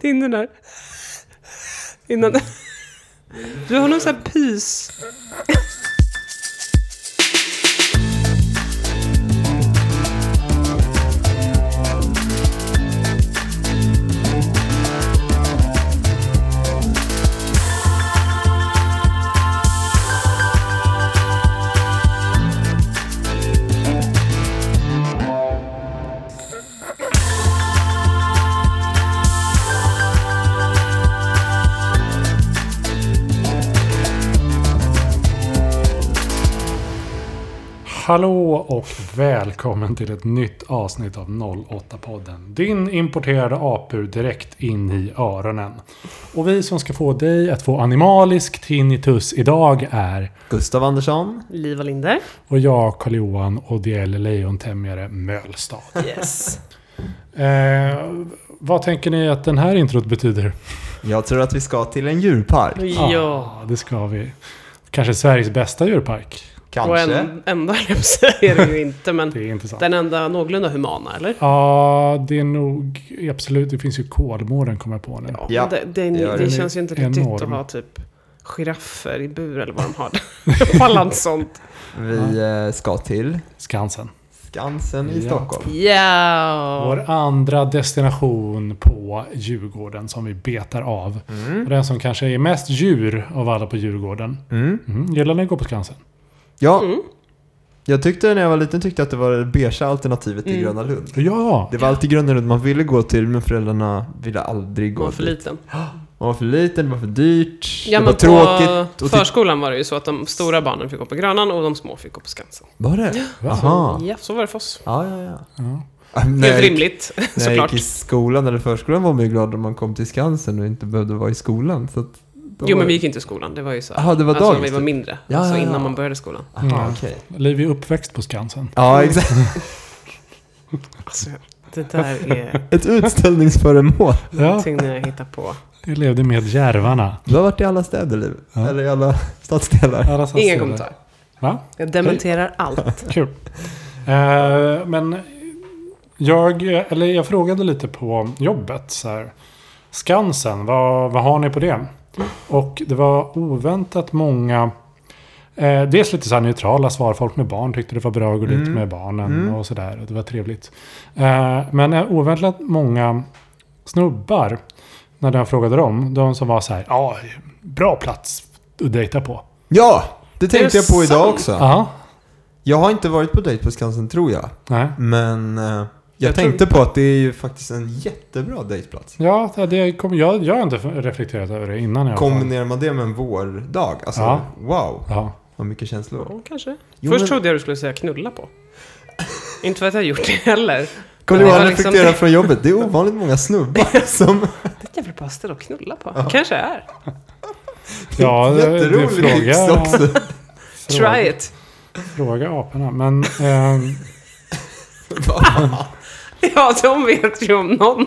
Tindern där. Innan... Du har någon sån här pys... Hallå och välkommen till ett nytt avsnitt av 08-podden. Din importerade apur direkt in i öronen. Och vi som ska få dig att få animalisk tinnitus idag är Gustav Andersson. Liva Linder. och jag, Carl-Johan och det gäller Lejontämjare Mölstad. Yes. Eh, vad tänker ni att den här introt betyder? Jag tror att vi ska till en djurpark. Ja. det ska vi. Kanske Sveriges bästa djurpark. Och Kanske. en, ändå höll jag på att säga, är det ju inte, men Det är intressant. den enda någorlunda humana, eller? Ja, det är nog absolut. Det finns ju Kolmården kommer jag på nu. Ja, det, det, det gör det det. känns ju inte riktigt Enorm. att ha typ giraffer i bur eller vad de har. där. Pallar inte sånt. Vi eh, ska till Skansen. Skansen i Ja. Stockholm. Ja. Vår andra destination på Djurgården som vi betar av. Och den som kanske är mest djur av alla på Djurgården. Mm. Mm. Gillar ni att gå på Skansen? Ja. Mm. Jag tyckte när jag var liten tyckte jag att det var det beiga alternativet Mm. till Gröna Lund. Ja! Det var alltid Gröna Lund man ville gå till men föräldrarna ville aldrig gå Var för dit. liten. Man var för liten, det var för dyrt, Ja, det var men tråkigt. på Och typ- titt- förskolan var det ju så att de stora barnen fick gå på Grönan och de små fick gå på Skansen. var det? Va? Aha. Ja, så var det för oss. Ja, ja, ja. Ja. Ah, när jag Helt gick- rimligt, När jag såklart. gick i skolan eller förskolan var man ju glad om man kom till Skansen och inte behövde vara i skolan. Så att då Jo, var men vi det- gick inte i skolan. Det var ju så. Jaha, det var alltså, när dagis vi var typ. mindre. Ja, alltså, ja, ja. innan man började skolan. Aha, Mm. okej. Liv är uppväxt på Skansen. Ja, exakt. Alltså, det där är Ett utställningsföremål. Ja, någonting ni har hittat på. det levde med järvarna. Du har varit i alla städer, Liv. Ja. Eller i alla stadsdelar. Alla som ser Inga det. kommentarer. Va? Jag dementerar allt. Kul. Eh, men jag, eller jag frågade lite på jobbet. Så här, Skansen, vad, vad har ni på det? Och det var oväntat många... Eh, dels lite så här neutrala svar. Folk med barn tyckte det var bra att gå dit Mm. med barnen Mm. och sådär. Det var trevligt. Eh, men eh, oväntat många snubbar, när jag frågade dem, de som var så här, ja, bra plats att dejta på. Ja! Det Är det tänkte jag på idag sant? också. Ja. Jag har inte varit på dejt på Skansen, tror jag. Nej. Men eh, jag, Jag tror- tänkte på att det är ju faktiskt en jättebra dejtplats. Ja, det- det kom, jag, jag har inte reflekterat över det innan. Jag Kombinerar man det med en vårdag, alltså Ja. wow, Ja. vad mycket känslor. Ja, kanske. Jo, Först men- trodde jag du skulle säga knulla på. inte för att jag har gjort det heller. Kolla Det var Johan liksom- reflekterar från jobbet. Det är ovanligt många snubbar som... Det är ett jävla bra ställe att knulla på. kanske är. ja det, det är Jätterolig tips fråga, också. fråga, Try it. fråga aporna. Men ehm, Ja, de vet ju om någon.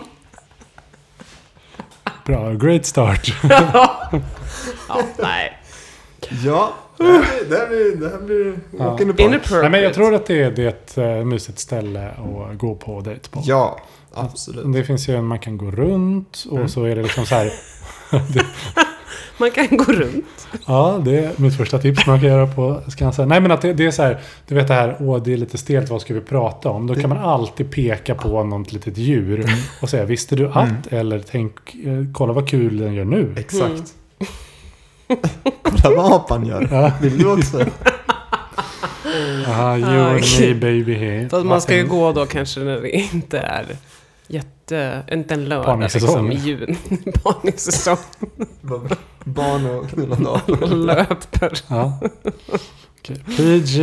bra, great start. ja, nej. Ja, det här blir- det här blir... Det här blir... Ja. walk in the park. Inappropriate. Nej, men jag tror att det är, det är ett eh, mysigt ställe att gå på och dejt på. Ja, absolut. Det finns ju en man kan gå runt Mm. och så är det liksom så här. Man kan gå runt. Ja, det är mitt första tips man kan göra på Skansen. Nej, men att det, det är så här. Du vet det här, åh det är lite stelt, vad ska vi prata om? Då kan man alltid peka på något litet djur och säga, visste du att? Eller tänk, eh, kolla vad kul den gör nu. Exakt. Kolla vad apan gör. Vill du också? Aha, you and me baby here. Fast man ska ju gå då kanske när det inte är jätte... Inte en lördag Parningssäsong. liksom i juni. Parningssäsong. Barn och knullande apor. Löper. Ja. Okej. PG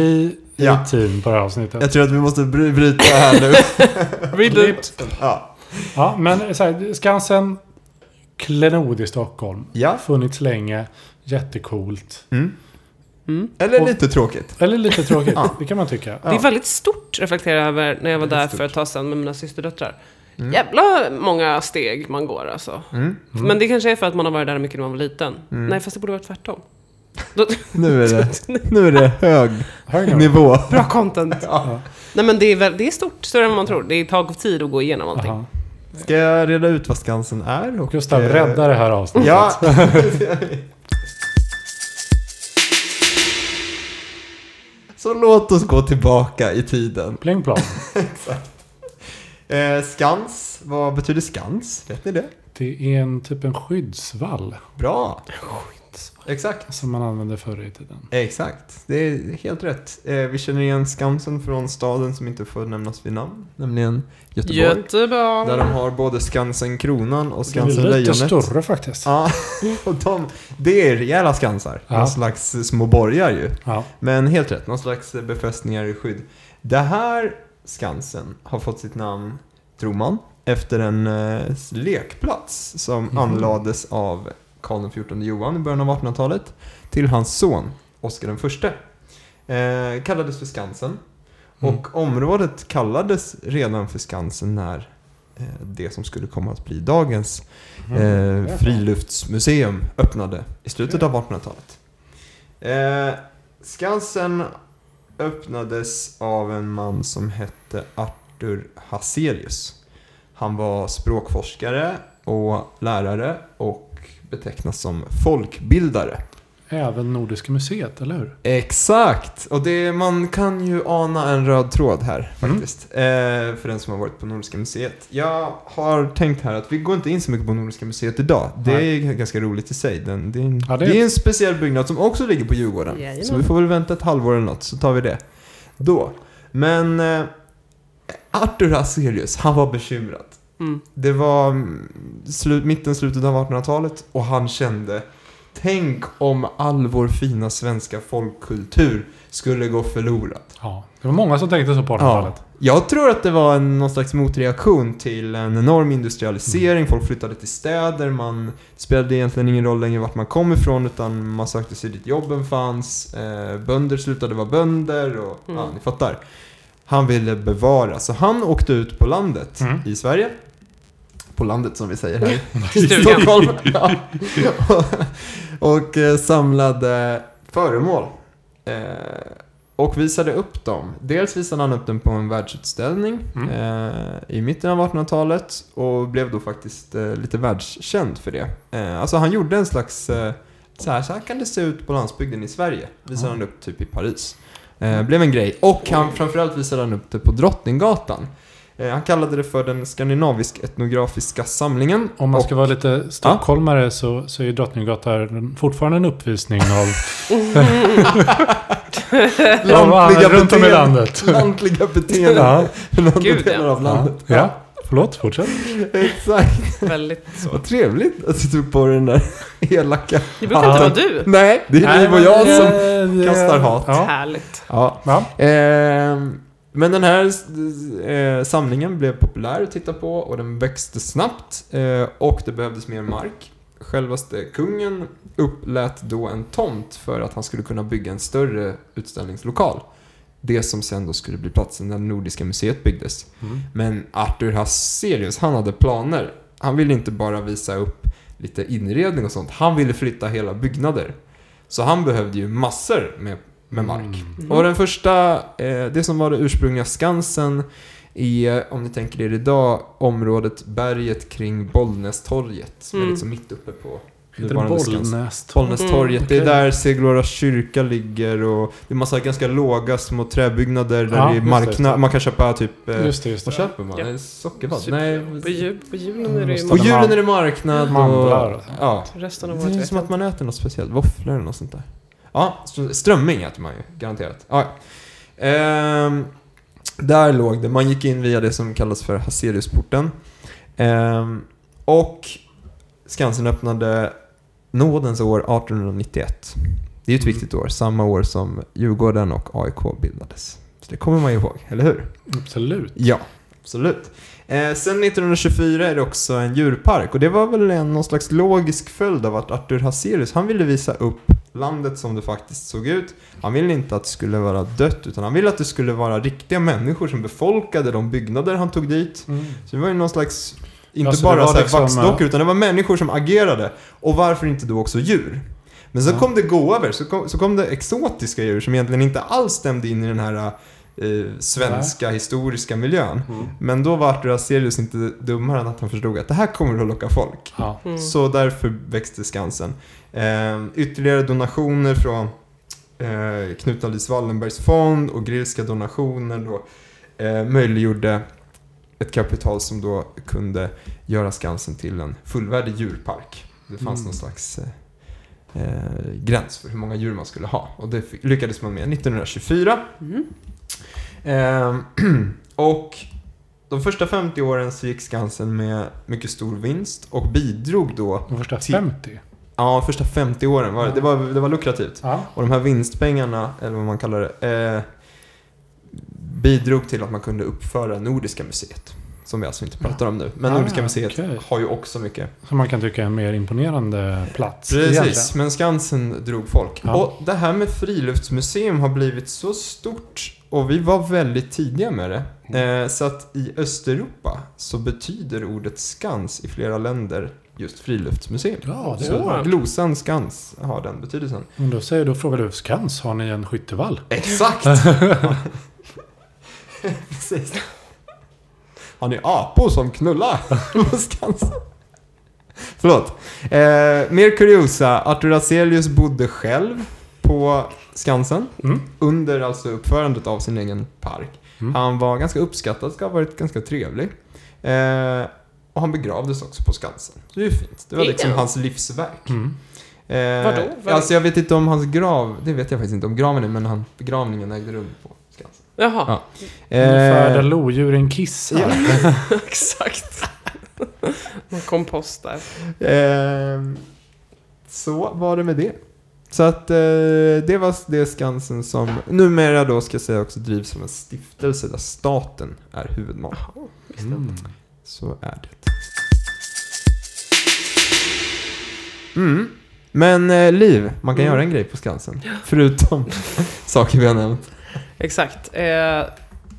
Ja. 18 på det här avsnittet. Jag tror att vi måste bry- bryta här nu. Reboot. Ja. Ja, men så här, Skansen, klenod i Stockholm. ja. Funnits länge, jättecoolt. Eller Och- lite tråkigt. Eller lite tråkigt, Ja. det kan man tycka. Det är väldigt stort, reflekterar jag över när jag var där för ett tag sedan med mina systerdöttrar. Mm. Jävla många steg man går alltså. Men det kanske är för att man har varit där mycket när man var liten. Mm. Nej, fast det borde vara tvärtom. Då, Nu är det, nu är det hög Hög nivå. nivå. bra content. Nej men det är, väl, det är stort, större än man tror. Det tar tid att gå igenom allting. Aha. Ska jag reda ut vad Skansen är? Och, Gustav, eh, rädda det här avsnittet. Ja! Så låt oss gå tillbaka i tiden. Pling plong. Eh, skans, vad betyder skans? Vet ni det? Det är en typ en skyddsvall Bra! Exakt. som man använde förr i tiden. Exakt, det är helt rätt. Eh, vi känner igen Skansen från staden som inte får nämnas vid namn, nämligen Göteborg. Göteborg. Där de har både Skansen Kronan och Det är Skansen lite Lejonet. större faktiskt. Ja, och de, det är rejäla skansar. Ja. Någon slags små borgar ju. Ja. Men helt rätt, någon slags befästningar i skydd. Det här Skansen har fått sitt namn, tror man, efter en eh, lekplats som anlades av Karl XIV Johan i början av 1800-talet till hans son Oscar den förste. Eh, kallades för Skansen. Mm. Och området kallades redan för Skansen när eh, det som skulle komma att bli dagens Mm. eh, friluftsmuseum öppnade i slutet av 1800-talet. Eh, Skansen öppnades av en man som hette Arthur Hazelius. Han var språkforskare och lärare och betecknas som folkbildare. Även Nordiska museet, eller hur? Exakt! Och det, man kan ju ana en röd tråd här Mm. faktiskt. Eh, för den som har varit på Nordiska museet. Jag har tänkt här att vi går inte in så mycket på Nordiska museet idag. Det Nej. är ganska roligt i sig. Den, det, är en, Ja, det det, är- är... en speciell byggnad som också ligger på Djurgården. Jajamän. Så vi får väl vänta ett halvår eller något så tar vi det då. Men eh, Arthur Hazelius, han var bekymrad. Mm. Det var mm, slut, mitten, slutet av 1800-talet och han kände Tänk om all vår fina svenska folkkultur skulle gå förlorad. Ja. Det var många som tänkte så på 1800-talet. Jag tror att det var en, någon slags motreaktion till en enorm industrialisering. Folk flyttade till städer, man det spelade egentligen ingen roll längre vart man kom ifrån utan man sökte sig dit jobben fanns. Eh, bönder slutade vara bönder och Mm. ja, ni fattar. Han ville bevara, så han åkte ut på landet Mm. i Sverige. På landet som vi säger här. Till stugan. Stockholm. Ja. och, och eh, samlade föremål. Eh, och visade upp dem. Dels visade han upp den på en världsutställning Mm. eh, i mitten av 1800-talet och blev då faktiskt eh, lite världskänd för det. Eh, alltså han gjorde en slags, eh, så, här, så här kan det se ut på landsbygden i Sverige. Visade Mm. han upp typ i Paris. Eh, blev en grej. Och han, framförallt visade han upp det på Drottninggatan. Eh, han kallade det för den skandinavisk etnografiska samlingen. Om man Och- ska vara lite stockholmare så, så är Drottninggatan fortfarande en uppvisning av av alla runt om i beteenden- landet. Lantliga beteenden. Ja. i andra Gud, ja. delar av Ja. landet. ja, förlåt, fortsätt. Exakt. Väldigt så. Vad trevligt att du tog på den där elaka. Det brukar inte Ja. vara du. Nej, det är Liv och jag som... kastar hat. Ja. Härligt. Ja. Ja. Ehm, men den här eh, samlingen blev populär att titta på och den växte snabbt eh, och det behövdes mer mark. Självaste kungen upplät då en tomt för att han skulle kunna bygga en större utställningslokal. Det som sen då skulle bli platsen där Nordiska museet byggdes. Mm. Men Arthur Hazelius, han hade planer. Han ville inte bara visa upp lite inredning och sånt. Han ville flytta hela byggnader. Så han behövde ju massor med, med mark. Mm. Mm. Och den första, eh, det som var det ursprungliga Skansen är, om ni tänker er idag, området berget kring Bollnästorget. Som är Mm. liksom mitt uppe på Heter det nuvarande Skansen. Bollnäs? Bollnästorget, Mm, det är okej. där Seglora kyrka ligger och det är massa ganska låga små träbyggnader där Ja, det är just det, just marknad. det. Man kan köpa typ... eh, Just det, just Vad det. köper man? Ja. Är det Sockervadd? Nej. På, jul, på julen är det ju Mm, På mat. ju- julen är det marknad Mandlar och... och Ja. Resten av året Det är vet som jag att inte. man äter något speciellt. Våfflor eller något sånt där. Ja, str- strömming äter man ju. Garanterat. Ja. Ehm, där låg det. Man gick in via det som kallas för Hazeliusporten. Ehm, och Skansen öppnade nådens år 1891. Det är Mm. ju ett viktigt år. Samma år som Djurgården och AIK bildades. Så det kommer man ju ihåg, eller hur? Absolut. Ja, absolut. Eh, sen 1924 är det också en djurpark och det var väl en, någon slags logisk följd av att Arthur Hazelius, han ville visa upp landet som det faktiskt såg ut. Han ville inte att det skulle vara dött utan han ville att det skulle vara riktiga människor som befolkade de byggnader han tog dit. Mm. Så det var ju någon slags, inte Ja, så det bara var så här liksom, vaxdockor utan det var människor som agerade. Och varför inte då också djur? Men så Ja. kom det gåvor, så kom, så kom det exotiska djur som egentligen inte alls stämde in i den här eh, svenska historiska miljön. Men då var Arthur Aselius inte dummare än att han förstod att det här kommer att locka folk. Ja. Mm. Så därför växte Skansen. Eh, ytterligare donationer från eh, Knut Alice Wallenbergs fond och grillska donationer då, eh, möjliggjorde ett kapital som då kunde göra Skansen till en fullvärdig djurpark. Det fanns Mm. någon slags eh, eh, gräns för hur många djur man skulle ha och det fick- lyckades man med 1924. Mm. Ehm, och de första 50 åren så gick Skansen med mycket stor vinst och bidrog då, De första Ti- 50. ja första 50 åren, var det, det, var, det var lukrativt. Ja. Och de här vinstpengarna, eller vad man kallar det, eh, bidrog till att man kunde uppföra Nordiska museet. Som vi alltså inte pratar om nu. Men Ah, Nordiska museet okej. har ju också mycket. Som man kan tycka är en mer imponerande plats. Precis, egentligen. men Skansen drog folk. Ja. Och det här med friluftsmuseum har blivit så stort och vi var väldigt tidiga med det. Mm. Eh, så att i Östeuropa så betyder ordet skans i flera länder just friluftsmuseum. Ja, det så var- Glosan skans har den betydelsen. Men då säger då frågar du Skans, har ni en skyttevall? Exakt! Ja. Precis. Har ni apor som knullar på Skansen? Förlåt. Eh, mer kuriosa. Arthur Hazelius bodde själv på Skansen Mm. under alltså uppförandet av sin egen park. Mm. Han var ganska uppskattad, ska ha varit ganska trevlig. Eh, och han begravdes också på Skansen. Så det är ju fint. Det var liksom Ja. hans livsverk. Mm. Eh, Vadå? Vad- Alltså jag vet inte om hans grav, det vet jag faktiskt inte om graven är, men han, begravningen ägde rum på Skansen. Jaha, Ja. Ungefär där Eh, lodjuren kissar. ja. exakt. Man kompostar. eh, så var det med det. Så att eh, det var det Skansen som numera då ska jag säga också drivs som en stiftelse där staten är huvudman. Jaha, visst. Mm. Så är det. Mm. Men eh, Liv, man kan Mm. göra en grej på Skansen. Förutom saker vi har nämnt. Exakt. Eh,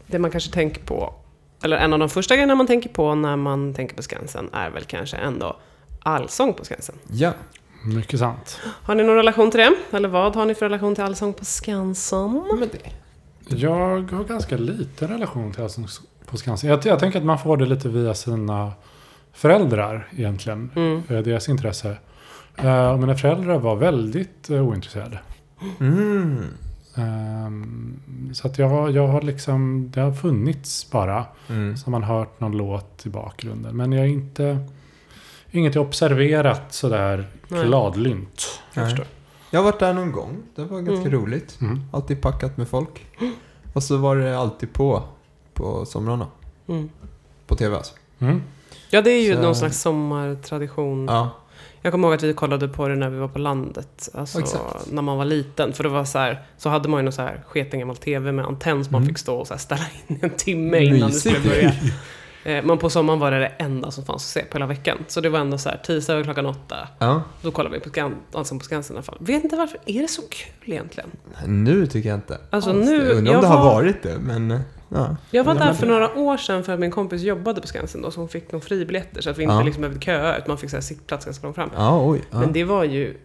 det man kanske tänker på, eller en av de första grejerna man tänker på när man tänker på Skansen är väl kanske ändå allsång på Skansen. Ja. Mycket sant. Har ni någon relation till det? Eller vad har ni för relation till allsång på Skansen? Men det. Jag har ganska liten relation till Allsång på Skansen. Jag, jag tänker att man får det lite via sina föräldrar egentligen. Mm. eh, Deras intresse. Eh, Och mina föräldrar var väldigt eh, ointresserade. Mm. Ehm, Så att jag, jag har liksom, det har funnits bara. Mm. Så har man hört någon låt i bakgrunden. Men jag har inte, inget jag observerat sådär Nej. gladlynt. Nej. förstår. Jag har varit där någon gång. Det var ganska Mm. roligt. Mm. Alltid packat med folk. Och så var det alltid på på somrarna. Mm. På tv alltså. Mm. Ja, det är ju Så- någon slags sommartradition. Ja. Jag kommer ihåg att vi kollade på det när vi var på landet. Alltså Exakt. när man var liten. För det var så här, så hade man ju någon så här sketen gammal TV med antenn som man Mm. fick stå och så här ställa in en timme innan det skulle börja. Eh, Men på sommaren var det det enda som fanns att se på hela veckan. Så det var ändå så här, tisdag klockan åtta. ja. Då kollade vi på Skan- Allsång på Skansen i alla fall. Vet inte varför, är det så kul egentligen? Nu tycker jag inte. Alltså, alls det. nu- Jag undrar om jag det har var- varit det, men... eh, Ja. Jag var Ja, där men- för några år sedan för att min kompis jobbade på Skansen då, så hon fick någon fribiljetter så att vi inte Ja. liksom behövde köa, utan man fick så här sittplats ganska långt fram. Ja, oj. Ja. Men det var ju...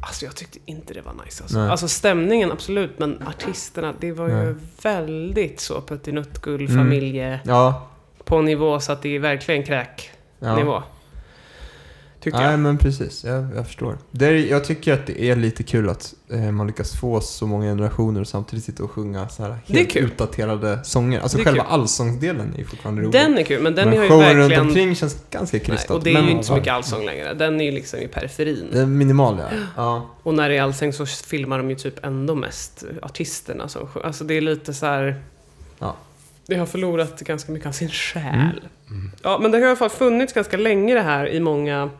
Alltså jag tyckte inte det var nice alltså. Nej. Alltså stämningen absolut, men artisterna, det var ju Nej. väldigt så puttinuttgull Mm. familje Ja. på en nivå så att det är verkligen kräknivå. ja. Tyckte Nej, jag. men precis. Jag, jag förstår. Det är, jag tycker att det är lite kul att eh, man lyckas få så många generationer och samtidigt sitta och sjunga så här Det är helt kul. utdaterade sånger. Alltså Det är själva kul. allsångsdelen är fortfarande rolig. Den är kul, men den men har ju showen verkligen... runt omkring känns ganska Nej, krystad. och det är men, ju inte så mycket allsång längre. Den är ju liksom i periferin. Eh, Minimal, ja. ja. Och när det är allsång så filmar de ju typ ändå mest artisterna som sjunger. Alltså det är lite så här... Ja. Det har förlorat ganska mycket av sin själ. Ja, men det har i alla fall funnits ganska länge det här i många...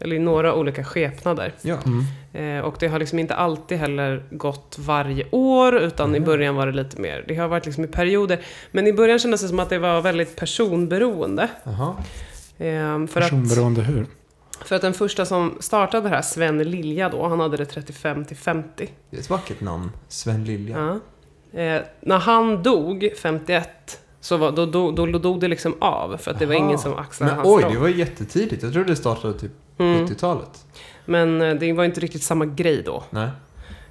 Eller i några olika skepnader. ja. Mm. Eh, och det har liksom inte alltid heller gått varje år, utan i början var det lite mer... Det har varit liksom i perioder. Men i början kändes det som att det var väldigt personberoende. Aha. Eh, för att... Personberoende hur? För att den första som startade det här, Sven Lilja då, han hade det 35 till 50. Det är ett vackert namn. Sven Lilja. Ja. Eh, när han dog, 51, så var, då, då, då, då dog det liksom av. För att det var Aha. ingen som axlade Men hans oj, roll. det var ju jättetidigt. Jag trodde det startade typ Mm. 70-talet. Men eh, det var inte riktigt samma grej då. Nej.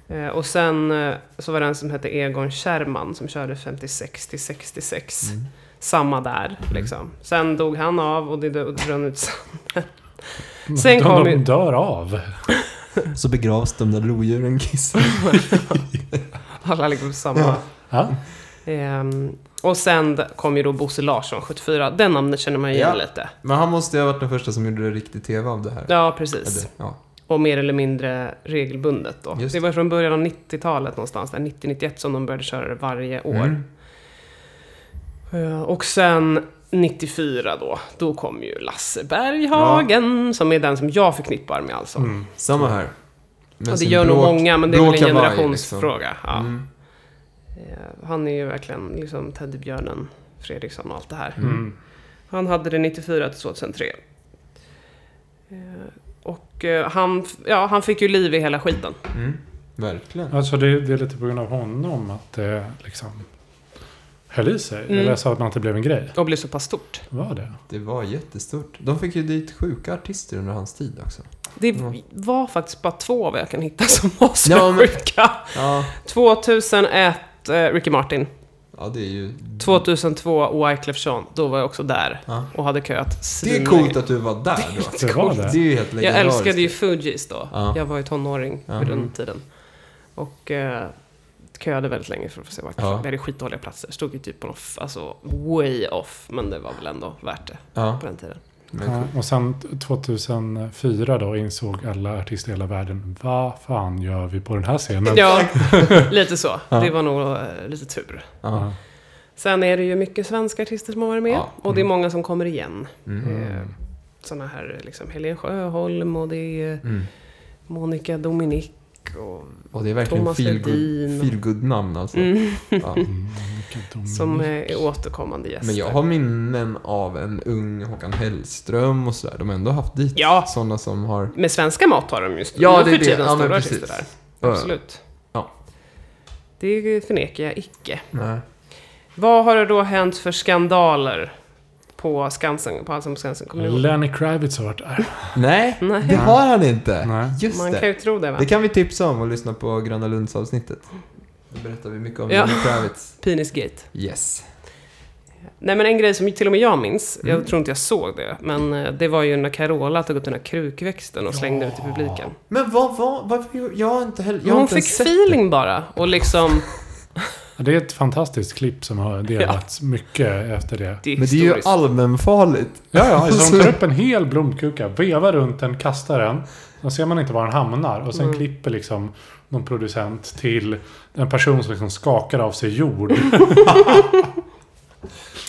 Eh, Och sen eh, så var det en som hette Egon Kärman som körde 56 till 66. Mm. Samma där, liksom. Sen dog han av och det dö- och rann ut Sen de, kom de ju- dör av. Så begravs de där lodjuren kissar. alla liksom samma. Ja. Ja. Ehm, och sen d- kom ju då Bosse Larsson, 74. Den namnet känner man ju igen Ja. lite. Men han måste ju ha varit den första som gjorde riktig TV av det här. Ja, precis. Eller, ja. Och mer eller mindre regelbundet då. Just Det var från början av 90-talet någonstans, där 90-91 som de började köra det varje år. Mm. Eh, Och sen 94 då, då kom ju Lasse Berghagen, som är den som jag förknippar med alltså. Mm. Samma här. Med och det sin gör nog blå- många, men det är blå väl en kavaj, generationsfråga. liksom. Ja. Mm. Eh, Han är ju verkligen liksom teddybjörnen Fredriksson och allt det här. Mm. Han hade det 94 till 2003. Eh, Och eh, han, f- ja, han fick ju liv i hela skiten. Mm. Verkligen. Alltså det, det är lite på grund av honom att det liksom höll i sig. Mm. Eller så att man inte blev en grej. Och blev så pass stort. Var det? Det var jättestort. De fick ju dit sjuka artister under hans tid också. Det Mm. var faktiskt bara två av jag kan hitta som var så Ja, men- sjuka. Ja, 2001, eh, Ricky Martin. ja det är ju... 2002, Wyclef Jean. Då var jag också där Ja. och hade köat Det är svinlänge. coolt att du var där då. Det var Det är det. ju helt Jag legendariskt. älskade ju Fugees då. Ja. Jag var ju tonåring Ja. Mm. vid den tiden. Och eh, köade väldigt länge för att få se Wyclef Ja. Jean. Vi hade skitdåliga platser. Stod ju typ på någon, f- alltså way off. Men det var väl ändå värt det Ja, på den tiden. men Ja, och sen t- 2004 då insåg alla artister i hela världen. Vad fan gör vi på den här scenen? Ja, lite så. Ja. Det var nog eh, lite tur. Ja. Sen är det ju mycket svenska artister som har varit med. Ja. Och det är många som kommer igen. Mm. Mm. Sådana här liksom Helen Sjöholm och det är Mm. Monica Dominic och Och det är verkligen Thomas feelgood Ledin. feel good namn alltså. Mm. Ja. Mm, vilket dom- som eh, är återkommande gäster. Men jag har minnen av en ung Håkan Hellström och sådär. De har ändå haft dit Ja. sådana som har... Med svenska mat har de just Ja, nu det är för det. tiden Ja, men stora precis. artister där. Ja. Absolut. Ja. Det förnekar jag icke. Nej. Vad har det då hänt för skandaler på Skansen? På Allsång på Skansen? Kommer ni ihåg? Lenny Kravitz har varit där. Nej, Nej. det har han inte. Nej. Just Man det. kan ju tro det va? Det kan vi tipsa om och lyssna på Gröna Lunds-avsnittet. Då berättar vi mycket om Ja. Lenny Kravitz. Penisgate. Yes. Nej men en grej som till och med jag minns, Mm. jag tror inte jag såg det, men eh, det var ju när Carola tog upp den här krukväxten och slängde ut i publiken. Men vad var... Varför, jag har inte heller... Jag Men har hon inte fick ens sett feeling bara och liksom... Ja, Det är ett fantastiskt klipp som har delats mycket efter det. Det är Men det är ju historiskt. allmänfarligt. Ja, ja. Så de tar upp en hel blomkuka, vevar runt den, kastar den. Då ser man inte var den hamnar. Och sen Mm. klipper liksom någon producent till en person som liksom skakar av sig jord.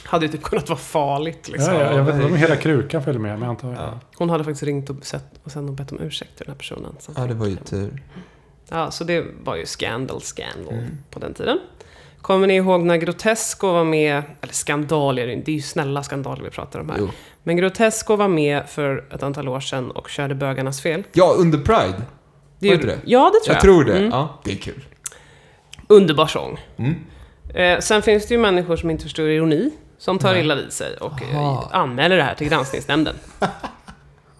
Hade ju typ kunnat vara farligt liksom. Ja, ja, jag vet inte om hela krukan följer med, men jag antar Ja. Hon hade faktiskt ringt och, sett, och sen och bett om ursäkt till den här personen. som Ja, det var ju fick- tur. Ja, så det var ju scandal, scandal Mm. på den tiden. Kommer ni ihåg när Grotesco var med, eller skandaler, det är ju snälla skandaler vi pratar om här. Jo. Men Grotesco var med för ett antal år sedan och körde Bögarnas fel. Ja, under Pride. Var gjorde- det det? Ja, det tror jag. Jag tror det. Mm. Ja, det är kul. Underbar sång. Mm. Eh, sen finns det ju människor som inte förstår ironi, som tar illa vid sig och eh, Aha. anmäler det här till granskningsnämnden.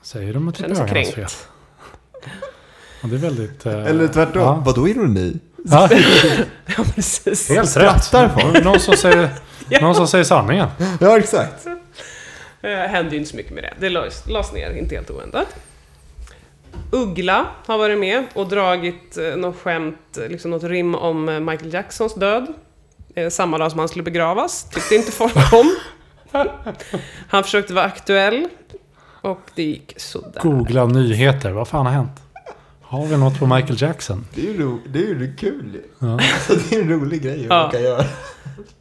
Säger de att det är Känns bögarnas kränkt. fel? Ja, det är väldigt... eh, Eller tvärtom. Ja. Vadå ironi? Ja, Ja, precis. helt Skrattar rätt. folk? Någon som säger, någon som säger sanningen. Ja, exakt. Eh, hände ju inte så mycket med det. Det lades, lades ner, inte helt oväntat. Uggla har varit med och dragit eh, något skämt, eh, liksom något rim om eh, Michael Jacksons död. Eh, samma dag som han skulle begravas. Tyckte inte folk om. Han försökte vara aktuell. Och det gick sådär. Googla nyheter. Vad fan har hänt? Har vi något på Michael Jackson? Det är ju, ro, det är ju kul ju. Ja. Alltså, det är en rolig grej Ja. man kan göra.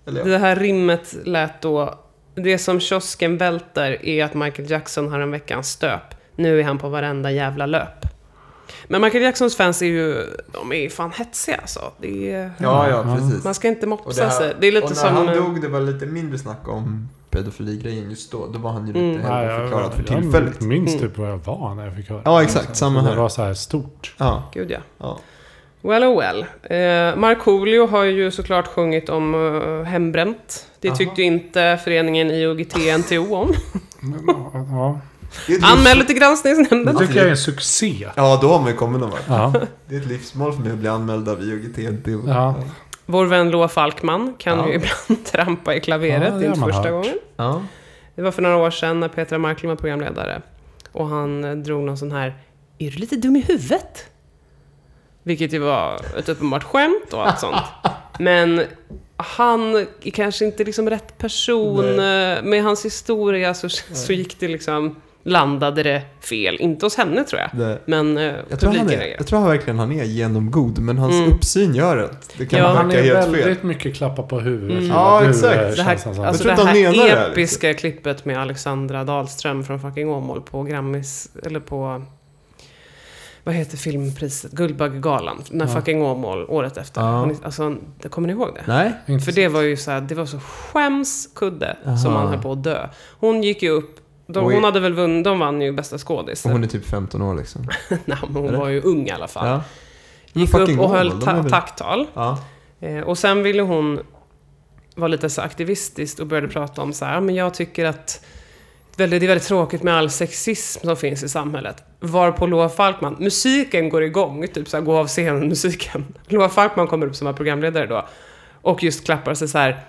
Eller, ja. Det här rimmet lät då... Det som kiosken välter är att Michael Jackson har en veckans stöp. Nu är han på varenda jävla löp. Men Michael Jacksons fans är ju... De är ju fan hetsiga alltså. Det är, ja, ja, precis. Man ska inte mopsa Och det, här, sig. Det är lite och när som... han dog, det var lite mindre snack om pedofili-grejen just då. Då var han ju lite Mm. mm. helgonförklarad för jag tillfället. Mm. minns typ var jag var när jag fick höra. Ja, exakt. Samma Det här. var så här stort. Ja, Gud ja. ja. Well oh well. Eh, Markoolio har ju såklart sjungit om eh, hembränt. Det tyckte Aha. ju inte föreningen IOGT-NTO om. Men, ja, ja. Det är ett Anmäl livs- det till granskningsnämnden. Det tycker jag är en succé. Ja, då har man ju kommit någon vart. Ja. Det är ett livsmål för mig att bli anmäld av IOGT. Ja. Vår vän Loa Falkman kan Ja. ju ibland trampa i Ja, klaveret. det det är inte har man första hört. gången. ja. Det var för några år sedan när Petra Marklund var programledare. Och han eh, drog någon sån här Är du lite dum i huvudet? Vilket ju var ett uppenbart skämt och allt sånt. Men han är kanske inte liksom rätt person. eh, Med hans historia så, så gick det liksom Landade det fel. Inte hos henne tror jag. Det, Men eh, jag, tror han publiken är, reagerade. jag tror verkligen han är genomgod, men hans Mm. uppsyn gör att det kan Ja. verka Han är helt fel. väldigt mycket klappa på huvudet. Mm. Ja, Nu, exakt. eh, Det Det känns här, han som. alltså Jag det tror inte här han menar det här, episka klippet med Alexandra Dahlström från fucking Åmål på Grammis, eller på vad heter filmpriset? Guldbaggegalan. När Ja. fucking Åmål, året efter. Ja. Hon är- Alltså, det- kommer ni ihåg det? Nej. Inte För det var ju så här, det var så skämskudde Aha. som man höll på att dö. Hon gick ju upp, de, Oj. hon hade väl vunnit, de vann ju bästa skådis. Och hon är typ 15 år liksom. Nej, men hon Eller? var ju ung i alla fall. Ja. Men Gick fucking upp och Åmål, höll de ta- är väl- tacktal. Ja. Eh, Och sen ville hon vara lite så aktivistisk och började prata om så här, "Ja, men jag tycker att väldigt- det är väldigt tråkigt med all sexism som finns i samhället. Varpå Loa Falkman, musiken går igång, typ så här, gå av scenen musiken. Loa Falkman kommer upp som var programledare då och just klappar sig så här.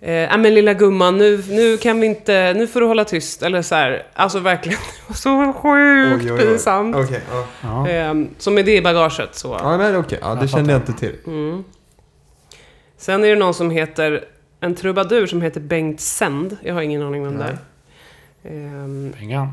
Eh, "Ja, men lilla gumman, nu, nu kan vi inte, nu får du hålla tyst. Eller så här, alltså verkligen, så sjukt Oj, oj, oj. pinsamt. Okej, ja. Ja. Eh, så med det i bagaget så. Ja, nej, okej. Ja, det Jag kände jag inte till. Mm. Sen är det någon som heter, en trubadur som heter Bengt Sänd, jag har ingen aning vem det är. Nej. Ehm, Pengan.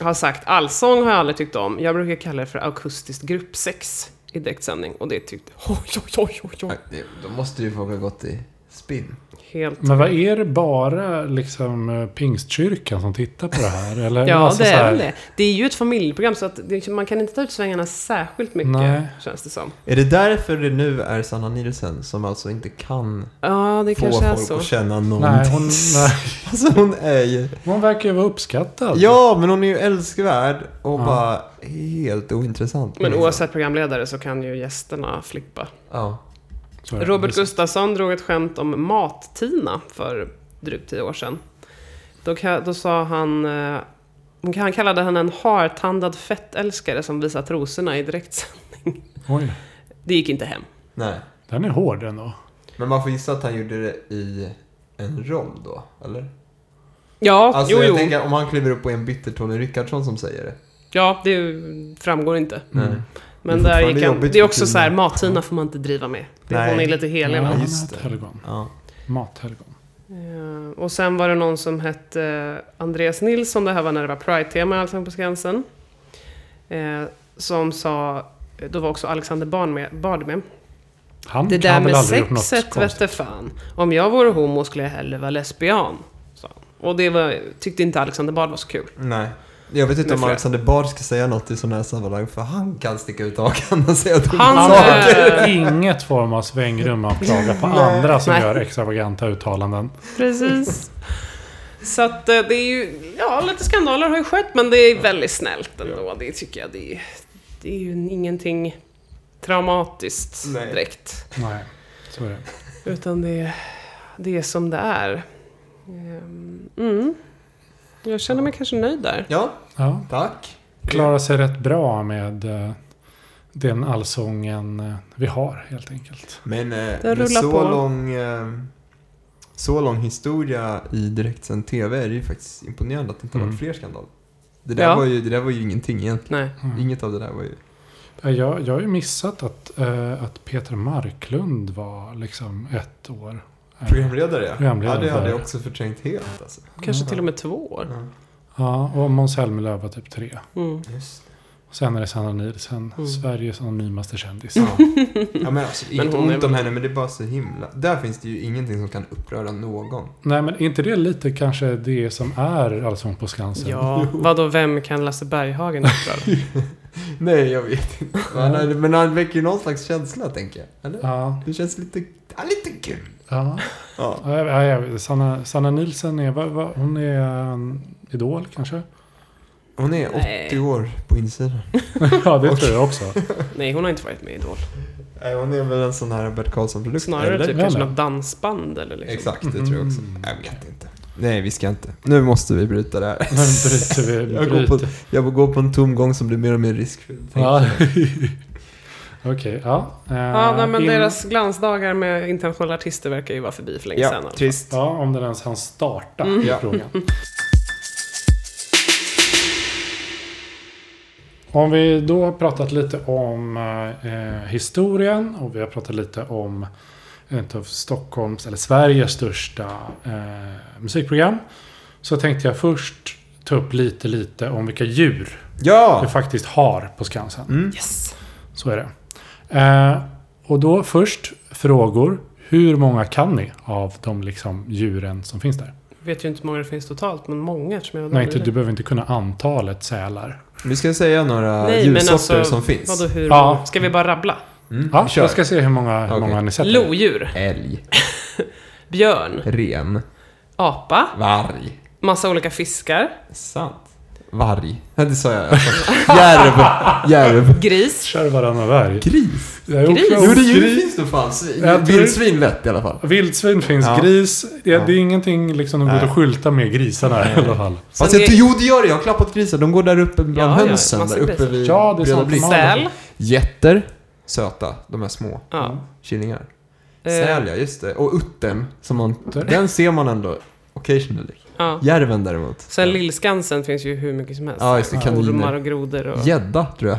har sagt, allsång har jag aldrig tyckt om. Jag brukar kalla det för akustiskt gruppsex i direktsändning. Och det tyckte, oj, oj, oj, oj, oj. Nej, det- Då måste ju folk ha gått i spinn. Helt. Men vad är det bara liksom eh, pingstkyrkan som tittar på det här? Eller, Ja, alltså, det så här- är väl det. Det är ju ett familjeprogram så att det, man kan inte ta ut svängarna särskilt mycket, Nej. känns det som. Är det därför det nu är Sanna Nielsen som alltså inte kan Ja, det få kanske är folk så. att känna någonting? Nej, hon, nej, Alltså hon är ju... hon verkar ju vara uppskattad. Ja, men hon är ju älskvärd och Ja. bara helt ointressant. Men Liksom. oavsett programledare så kan ju gästerna flippa. Ja. Så är det. Robert Gustafsson drog ett skämt om mat-Tina för drygt tio år sedan. Då, ka- då sa han... eh, Han kallade henne en hartandad fettälskare som visar trosorna i direktsändning. Oj, Det gick inte hem. Nej. den är hård ändå. Men man får gissa att han gjorde det i en roll då, eller? Ja, Alltså jo, jag jo. tänker om han kliver upp och är en bitter Tony Rickardsson som säger det. Ja, det ju- framgår inte. Nej. Men Det där är fortfarande gick han. jobbigt Det är för också så här, Tina. mat-Tina får man inte driva med. Det, Nej. hon är lite helig. Ja, va? hon har just ett det. helgon. Ja. Mathelgon. Eh, Och sen var det någon som hette eh, Andreas Nilsson, det här var när det var Pride-tema i Allsång på Skansen. Eh, Som sa, eh, då var också Alexander Bard med. Bard med. Han Det där kan väl med aldrig gjort något sexet konstigt. vette fan. Om jag vore homo skulle jag hellre vara lesbian. sa han. Och det var, tyckte inte Alexander Bard var så kul. Nej. Jag vet inte Med om flera. Alexander Bard ska säga något i sådana här sammanhang, för han kan sticka ut hakan och säga dumma Han- saker. har inget form av svängrum att klaga på Nej. andra som Nej. gör extravaganta uttalanden. Precis. Så att eh, det är ju, ja lite skandaler har ju skett men det är väldigt snällt ändå. Det tycker jag. Det är, det är ju ingenting traumatiskt Nej. direkt. Nej, så är det. Utan det, det är som det är. Ehm, Mm. Jag känner mig kanske nöjd där. Ja, Ja, tack. klarar sig rätt bra med eh, den allsången eh, vi har helt enkelt. Men eh, Den med rullar så på. lång... Eh, så lång historia i direktsänd TV är det ju faktiskt imponerande att det inte har varit Mm. fler skandaler. Det där, Ja. var ju, det där var ju ingenting egentligen. Nej. Mm. Inget av det där var ju... Eh, Jag, jag har ju missat att, eh, att Peter Marklund var liksom ett år. Eh, Programledare ja. Programledare. Ja, det hade jag också förträngt helt alltså. Kanske till och med två år. Ja, Ja, och Måns Zelmerlöw var typ tre. Mm. just det. Och sen är det Sanna Nielsen, Mm. Sveriges anonymaste kändis. Ja. ja men alltså, Men inget hon är ont väl- om henne, men det är bara så himla... Där finns det ju ingenting som kan uppröra någon. Nej, men är inte det lite kanske det som är Allsång på Skansen? Ja, vadå vem kan Lasse Berghagen uppröra? Nej, jag vet inte. Men han, men han väcker ju någon slags känsla, tänker jag. Eller? Ja, Det känns lite, ja, lite kul. ja. Ja. Ja, jag- jag vet. Sanna, Sanna Nielsen är, vad- vad- hon är um, idol kanske? Hon är 80 Nej. år på insidan. ja, det tror jag också. Nej, hon har inte varit med i Idol. Nej, hon är väl en sån här Bert Karlsson-produkt? Snarare typ Eller? kanske något dansband eller liksom. Exakt, det tror jag också. Mm. Jag vet inte. Nej, vi ska inte. Nu måste vi bryta det här. Nu bryter vi. Jag går, på, bryter. jag går på en tomgång som blir mer och mer riskfylld. Ja. Okej, ja. Eh, Ja, nej, men in- deras glansdagar med internationella artister verkar ju vara förbi för länge sedan. Ja, alltså. trist. Ja, om den ens hann starta Mm. i Ja. frågan. Om vi då har pratat lite om eh, historien och vi har pratat lite om ett av Stockholms, eller Sveriges största eh, musikprogram. Så tänkte jag först ta upp lite, lite om vilka djur vi Ja! faktiskt har på Skansen. Mm. Yes! Så är det. Eh, och då först frågor. Hur många kan ni av de liksom, djuren som finns där? Jag vet ju inte hur många det finns totalt, men många eftersom jag var Nej, dålig inte, typ i du det. behöver inte kunna antalet sälar. Vi ska säga några Nej, men djursorter alltså, som finns. Vadå, hur Ja. många? Ska vi bara rabbla? Mm, Ja, kör. jag ska se hur många, hur Okej. många ni sätter. Lodjur, Älg, björn, ren, apa, varg. massa olika fiskar, Sant. Varg. Ja, det sa jag. Järv. Järv. gris, Kör varannan varg. Gris. Jag är Gris? också- Jo, det är ju- finns nog fan svin. Jag tror- Vildsvin lätt i alla fall. Vildsvin finns, Ja. gris. Det, Ja. det är ingenting liksom, de går Nej. att skylta med grisarna i alla fall. Fast Sen jag, är- jo, det gör det. Jag har klappat grisar. De går där uppe bland Ja, ja, hönsen. massa där uppe grisar. vid Ja, det är Breda sant. Bris. Ja. säl. Getter. Söta. De är små. Ja. Killingar. Eh. Mm. Säl, ja. Just det. Och uttern. Som man, Utter. den ser man ändå occasionally. Ja. Järven däremot. Sen Lillskansen finns ju hur mycket som helst. Ja, just det. Ormar Kaniner. och grodor och... Gädda, tror jag.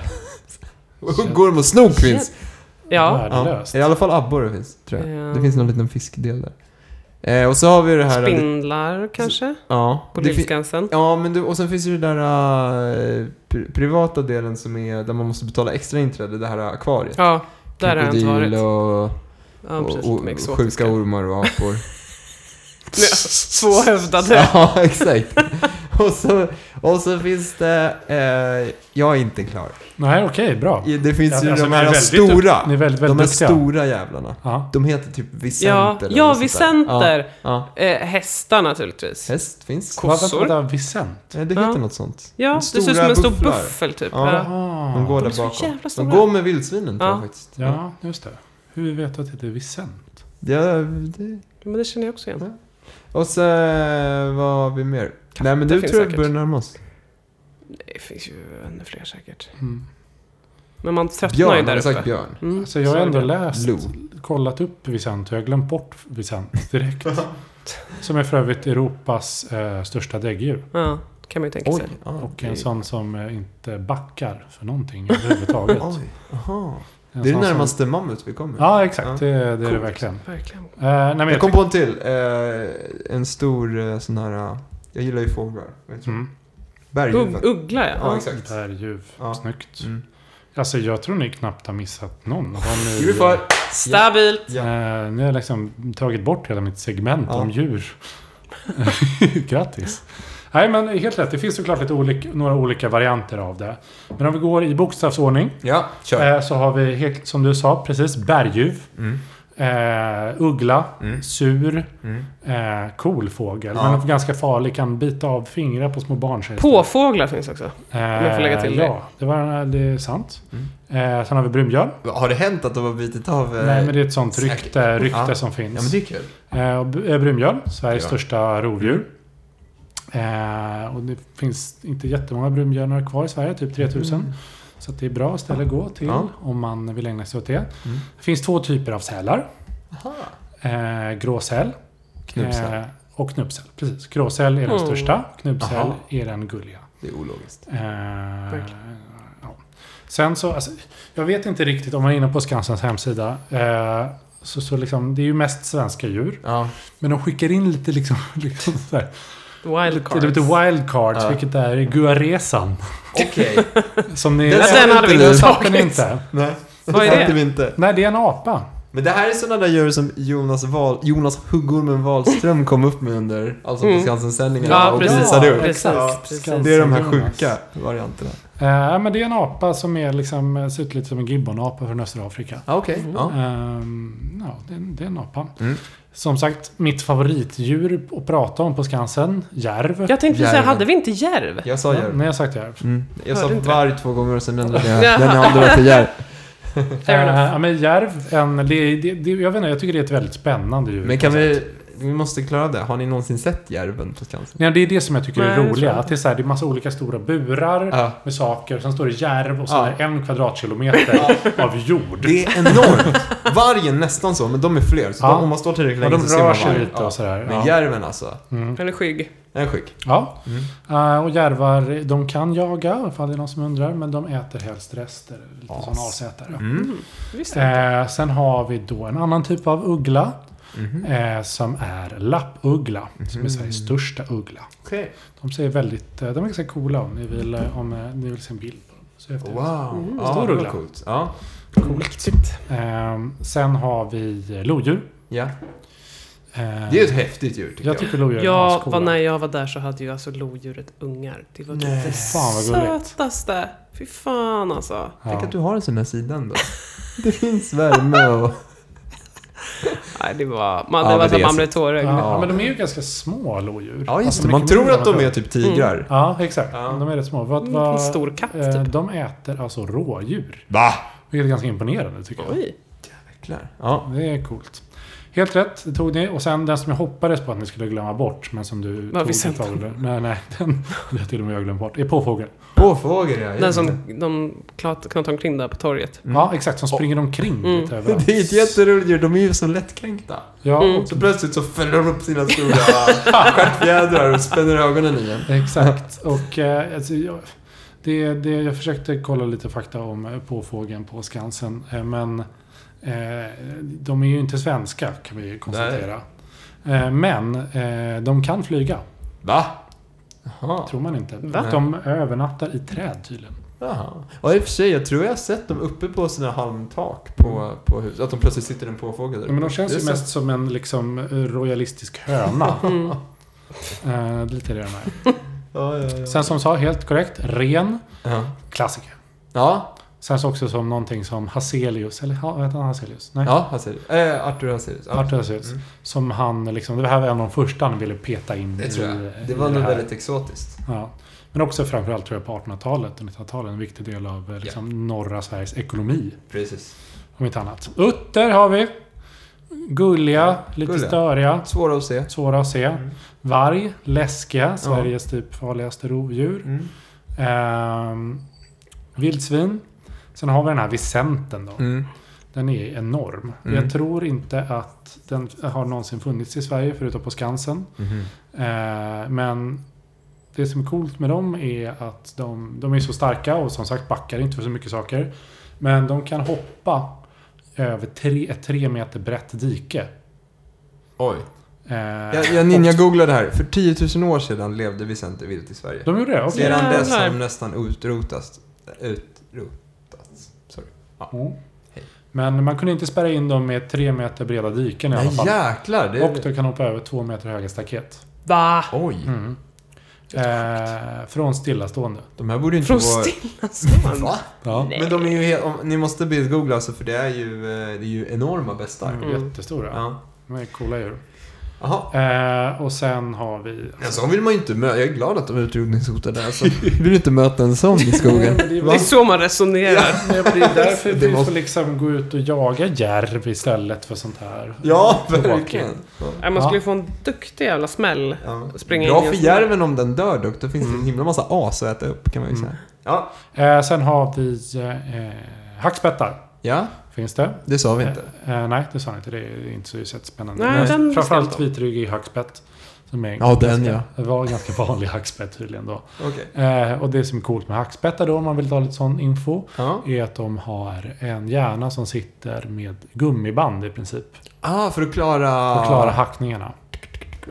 Huggorm och snok finns. Ja. Ja, Värdelöst. I alla fall abborre finns, tror jag. Ja. Det finns någon liten fiskdel där. Eh, och så har vi det här... Spindlar kanske? ja, På det fin- Lillskansen. Ja, men du, och sen finns ju den där eh, pri- privata delen som är där man måste betala extra inträde, det här akvariet. Ja, där har jag inte Krokodil varit. och, Ja, precis. och, de är och exotiska. sjuka ormar och apor. Tvåhövdade. ja, exakt. och, så, och så finns det... Eh, jag är inte klar. Nej, okej, bra. Det finns Ja, ju alltså, de ni är här väldigt dukt- stora. Ni är väldigt, De väldigt duktiga. här stora jävlarna. Ja. De heter typ Vicenter Ja, eller ja något sånt där. Ja, Vicenter. ja. Eh, hästar naturligtvis. Häst finns. Ko- Varför Kossor. vänta, Vicent? Nej, det heter Ja. något sånt. Ja, det ser ut som Stora en stor bufflar. buffel typ. Ja. Ja. De går de är där så bakom. jävla De stora. går med vildsvinen tror Ja. jag faktiskt. Ja, just det. Hur vet du att det är Vicent? Ja, det... Men det känner jag också Mm. igen. Och så, eh, vad har vi mer? Nej men du finns tror jag säkert. börjar närma oss. Det finns ju ännu fler säkert. Mm. Men man tröttnar ju Björn, har där du uppe. sagt björn? Mm. Alltså jag har Så är ändå det. läst, Lo. kollat upp Vicent och jag har glömt bort Vicent direkt. som är för övrigt Europas eh, största däggdjur. Ja, det kan man ju tänka Oj, sig. ja, Och Ah, okej. en sån som eh, inte backar för någonting överhuvudtaget. Oj, aha. En Det är sån det som- närmaste mammut vi kommer. Ja, exakt. Ja. Det, det är det Coolt. verkligen. Eh, Verkligen. nej, men Jag jag kom på en till. Eh, en stor eh, sån här, eh, jag gillar ju fåglar. Vad heter det? Mm. Berguva. Ugg, uggla ja. Ja, ja. exakt. Berguv. Ja. Snyggt. Mm. Alltså jag tror ni knappt har missat någon. Har ni, Give me five. Stabilt. Ja. Eh, ni har liksom tagit bort hela mitt segment Ja. om djur. Grattis. Nej men helt rätt. Det finns såklart lite olika, några olika varianter av det. Men om vi går i bokstavsordning. Ja, kör. eh, Så har vi, helt, som du sa, precis berguv. Mm. Eh, uggla. Mm. Sur. Mm. Eh, kolfågel. Ja. Men ganska farlig. Kan bita av fingrar på små barn. sägs det. Eh, Påfåglar finns också. jag får lägga till det. Ja, det, var, det är sant. Eh, sen har vi brunbjörn. Har det hänt att de har bitit av... Mm. eh, Nej, men det är ett sånt säkert. rykte, rykte Ja. som Ja, finns. men det är kul. Eh, och b- eh, Brunbjörn, Sveriges Ja. största rovdjur. Eh, och det finns inte jättemånga brunbjörnar kvar i Sverige, typ 3000. Så att det är bra ställe att gå till Ja. Mm. om man vill ägna sig åt det. Det finns två typer av sälar. Aha. Eh, gråsäl Knubbsäl. eh, och knubbsäl. Precis. Gråsäl är den Mm. största, knubbsäl Aha. är den gulliga. Det är ologiskt. Eh, Verkligen. ja. Sen så, alltså, jag vet inte riktigt om man är inne på Skansens hemsida. Eh, så, så liksom, det är ju mest svenska djur. Ja. Men de skickar in lite liksom, liksom så här, lite, Wildcards. lite wildcards, Ja. vilket är Guaresan. Okej. Som ni... Den Ja, den hade vi Den inte fattar ni tagit. inte. Nej. Vad är det? fattar vi inte. Nej, det är en apa. Men det här är sådana där djur som Jonas, Wahl, Jonas Huggormen Wahlström kom upp med under Allsång på Mm. Skansen-sändningen Ja, och precis. visade upp. precis. Ja, precis. Skans- Det är de här Jonas. sjuka varianterna. Eh, men det är en apa som är liksom, eh, ser ut lite som en gibbonapa från östra Afrika. Ja, okej. Mm. Ja. Ehm, ja, det, är en- det är en apa. Mm. Som sagt, mitt favoritdjur att prata om på Skansen, järv. Jag tänkte precis säga, Järven. hade vi inte järv? Jag sa Nej, järv. jag har sagt järv. Mm. Jag sa Hörde inte varg två gånger och sen ändrade jag Ja. den andra till järv. Fair Eh, enough. ja, men järv, en, det, det, det, jag vet inte, jag tycker det är ett väldigt spännande djur. Men kan på något sätt. vi vi måste klara det. Har ni någonsin sett Järven på Skansen? Nej, det är det som jag tycker Nej, är jag tror roliga. det. Att det är så här, det är massa olika stora burar Ja. med saker. Sen står det järv och så Ja. är det en kvadratkilometer av jord. Det är enormt. Vargen nästan så, men de är fler. Så Ja. de, om man står tillräckligt Ja, länge de så ser man rör sig vargen. lite Ja. och sådär. Men Ja. Mm. järven alltså, Eller skygg. den är sjuk. Ja. Mm. Eh, och järvar, de kan jaga, ifall det är någon som undrar. Men de äter helst rester. Lite As. sådana avsätare. Mm. Visst. Eh, sen har vi då en annan typ av uggla. Mhm. Eh, som är lappuggla. Som är Sveriges största uggla. Mm. Okej. De ser väldigt, eh, de är ganska coola om ni vill, eh, om eh, ni vill se en bild på dem. Så efter Wow. Mm. Ja, Stor det var uggla. coolt. Ja. Mäktigt. Ehm, sen har vi eh, lodjur. ja. Ehm, Det är ju ett häftigt djur tycker jag. jag tycker lodjur är Jag ascoola. var, när jag var där så hade ju alltså lodjuret ungar. Det var Nej. det Fan, vad gulligt. sötaste. Fy fan alltså. Tänk ja. att du har en sån här sida ändå. Det finns värme och... Nej, det var... Man, Ja, det men var så det att är man så. blev tårögd. ja. Ja. men de är ju ganska små lodjur. Ja, just Alltså, det. Man mycket tror mindre att de än är vad- Mm. typ tigrar. Ja, exakt. Ja. De är rätt små. Vad, En vad, liten stor katt, eh, Mm, typ. De äter alltså rådjur. Va? Vilket är ganska imponerande tycker jag. Oj. Jäklar. Ja. Det är coolt. Helt rätt, det tog ni. Och sen den som jag hoppades på att ni skulle glömma bort, men som du Vad vi tog sen- ett tag. Nej, nej. Den det har till och med jag glömt bort. Är påfågel. Påfågel ja. Den som de klat- knatade omkring där på torget. Mm. Ja, exakt. Som springer omkring Mm. lite överallt. Det är ett jätteroligt djur. De är ju så lättkränkta. Ja, Mm. och Så plötsligt så fäller de upp sina stora stjärtfjädrar och spänner ögonen i en. Exakt. Och eh, alltså, jag, det, det, jag försökte kolla lite fakta om eh, påfågeln på Skansen. Eh, men eh, de är ju inte svenska kan vi konstatera. Eh, men eh, de kan flyga. Va? Jaha. Tror man inte. Va? De övernattar i träd tydligen. Jaha. Ja, i och för sig. Jag tror jag har sett dem uppe på sina halmtak på, på hus. Att de plötsligt sitter en påfågel där Men de uppe. känns Det ju är mest som en liksom, eh, royalistisk höna. Mm. eh, lite det de är. så- Ja, ja, ja. Sen som sa, helt korrekt, ren. Ja. Klassiker. Ja, Sen så också som någonting som Hazelius, eller ha- heter han Hazelius? Nej. ja Hazelius. Eh, Arthur Hazelius. Ja. Arthur Hazelius. Mm. Som han liksom, det här var en av de första han ville peta in Det tror jag. i- Mm. Det i var nog här. väldigt exotiskt. Ja. Men också framförallt tror jag på 1800-talet och 1900-talet. En viktig del av eh, liksom, norra Sveriges ekonomi. Precis. Om inte annat. Utter har vi. Gulliga, lite Gulliga. störiga. Svåra att se. Svåra att se. Mm. Varg, läskiga. Sveriges typ farligaste rovdjur. Mm. Ehm, vildsvin. Sen har vi den här vicenten då. Mm. Den är enorm. Mm. Jag tror inte att den har någonsin funnits i Sverige förutom på Skansen. Mm-hmm. Eh, men det som är coolt med dem är att de, de är så starka och som sagt backar inte för så mycket saker. Men de kan hoppa över tre, ett tre meter brett dike. Oj. Eh, Jag, jag ninja-googlade här. För 10 000 år sedan levde Vicente vilt i Sverige. de gjorde det? Okej. Sedan dess har Jävlar. de nästan utrotats. Utrotats. Sorry. Mm. Men man kunde inte spärra in dem med tre meter breda diken i alla Nej, fall. jäklar. Det Och är... de kan hoppa över två meter höga staket. Va? Oj. Mm. Eh, från stillastående. Mm. De här borde ju inte Från vara... stilla stan? Va? Ja. Nej. Men de är ju helt... Om, ni måste bildgoogla alltså för det är ju, eh, det är ju enorma bestar. Mm. Mm. Jättestora. Ja. De är coola djur. Jaha. Eh, och sen har vi... En sån vill man ju inte möta. Jag är glad att de är utrotningshotade alltså. Vill du inte möta en sån i skogen? Nej, men det är Det Va? är så man resonerar. Nej, men det är därför Det vi var- får liksom gå ut och jaga järv istället för sånt här. Ja, Tråkigt. verkligen. Nej, Äh, Man skulle Ja. få en duktig jävla smäll. Ja. Springa Bra in i för en sån där. järven om den dör dock. Då finns det en himla massa as att äta upp kan man ju Mm. säga. Ja. Eh, sen har vi eh, eh, hackspettar. Ja, Finns det? det sa vi inte. Eh, eh, nej, det sa jag inte. Det är inte så sett spännande. Nej, Men den Framförallt bestämde vitryggig hackspett. Som är en Ja, den, ganska- var en ganska vanlig hackspett tydligen då. Okej. Eh, och det som är coolt med hackspettar då, om man vill ta lite sån info, Ja. är att de har en hjärna som sitter med gummiband i princip. Ah, för att klara... För att klara hackningarna.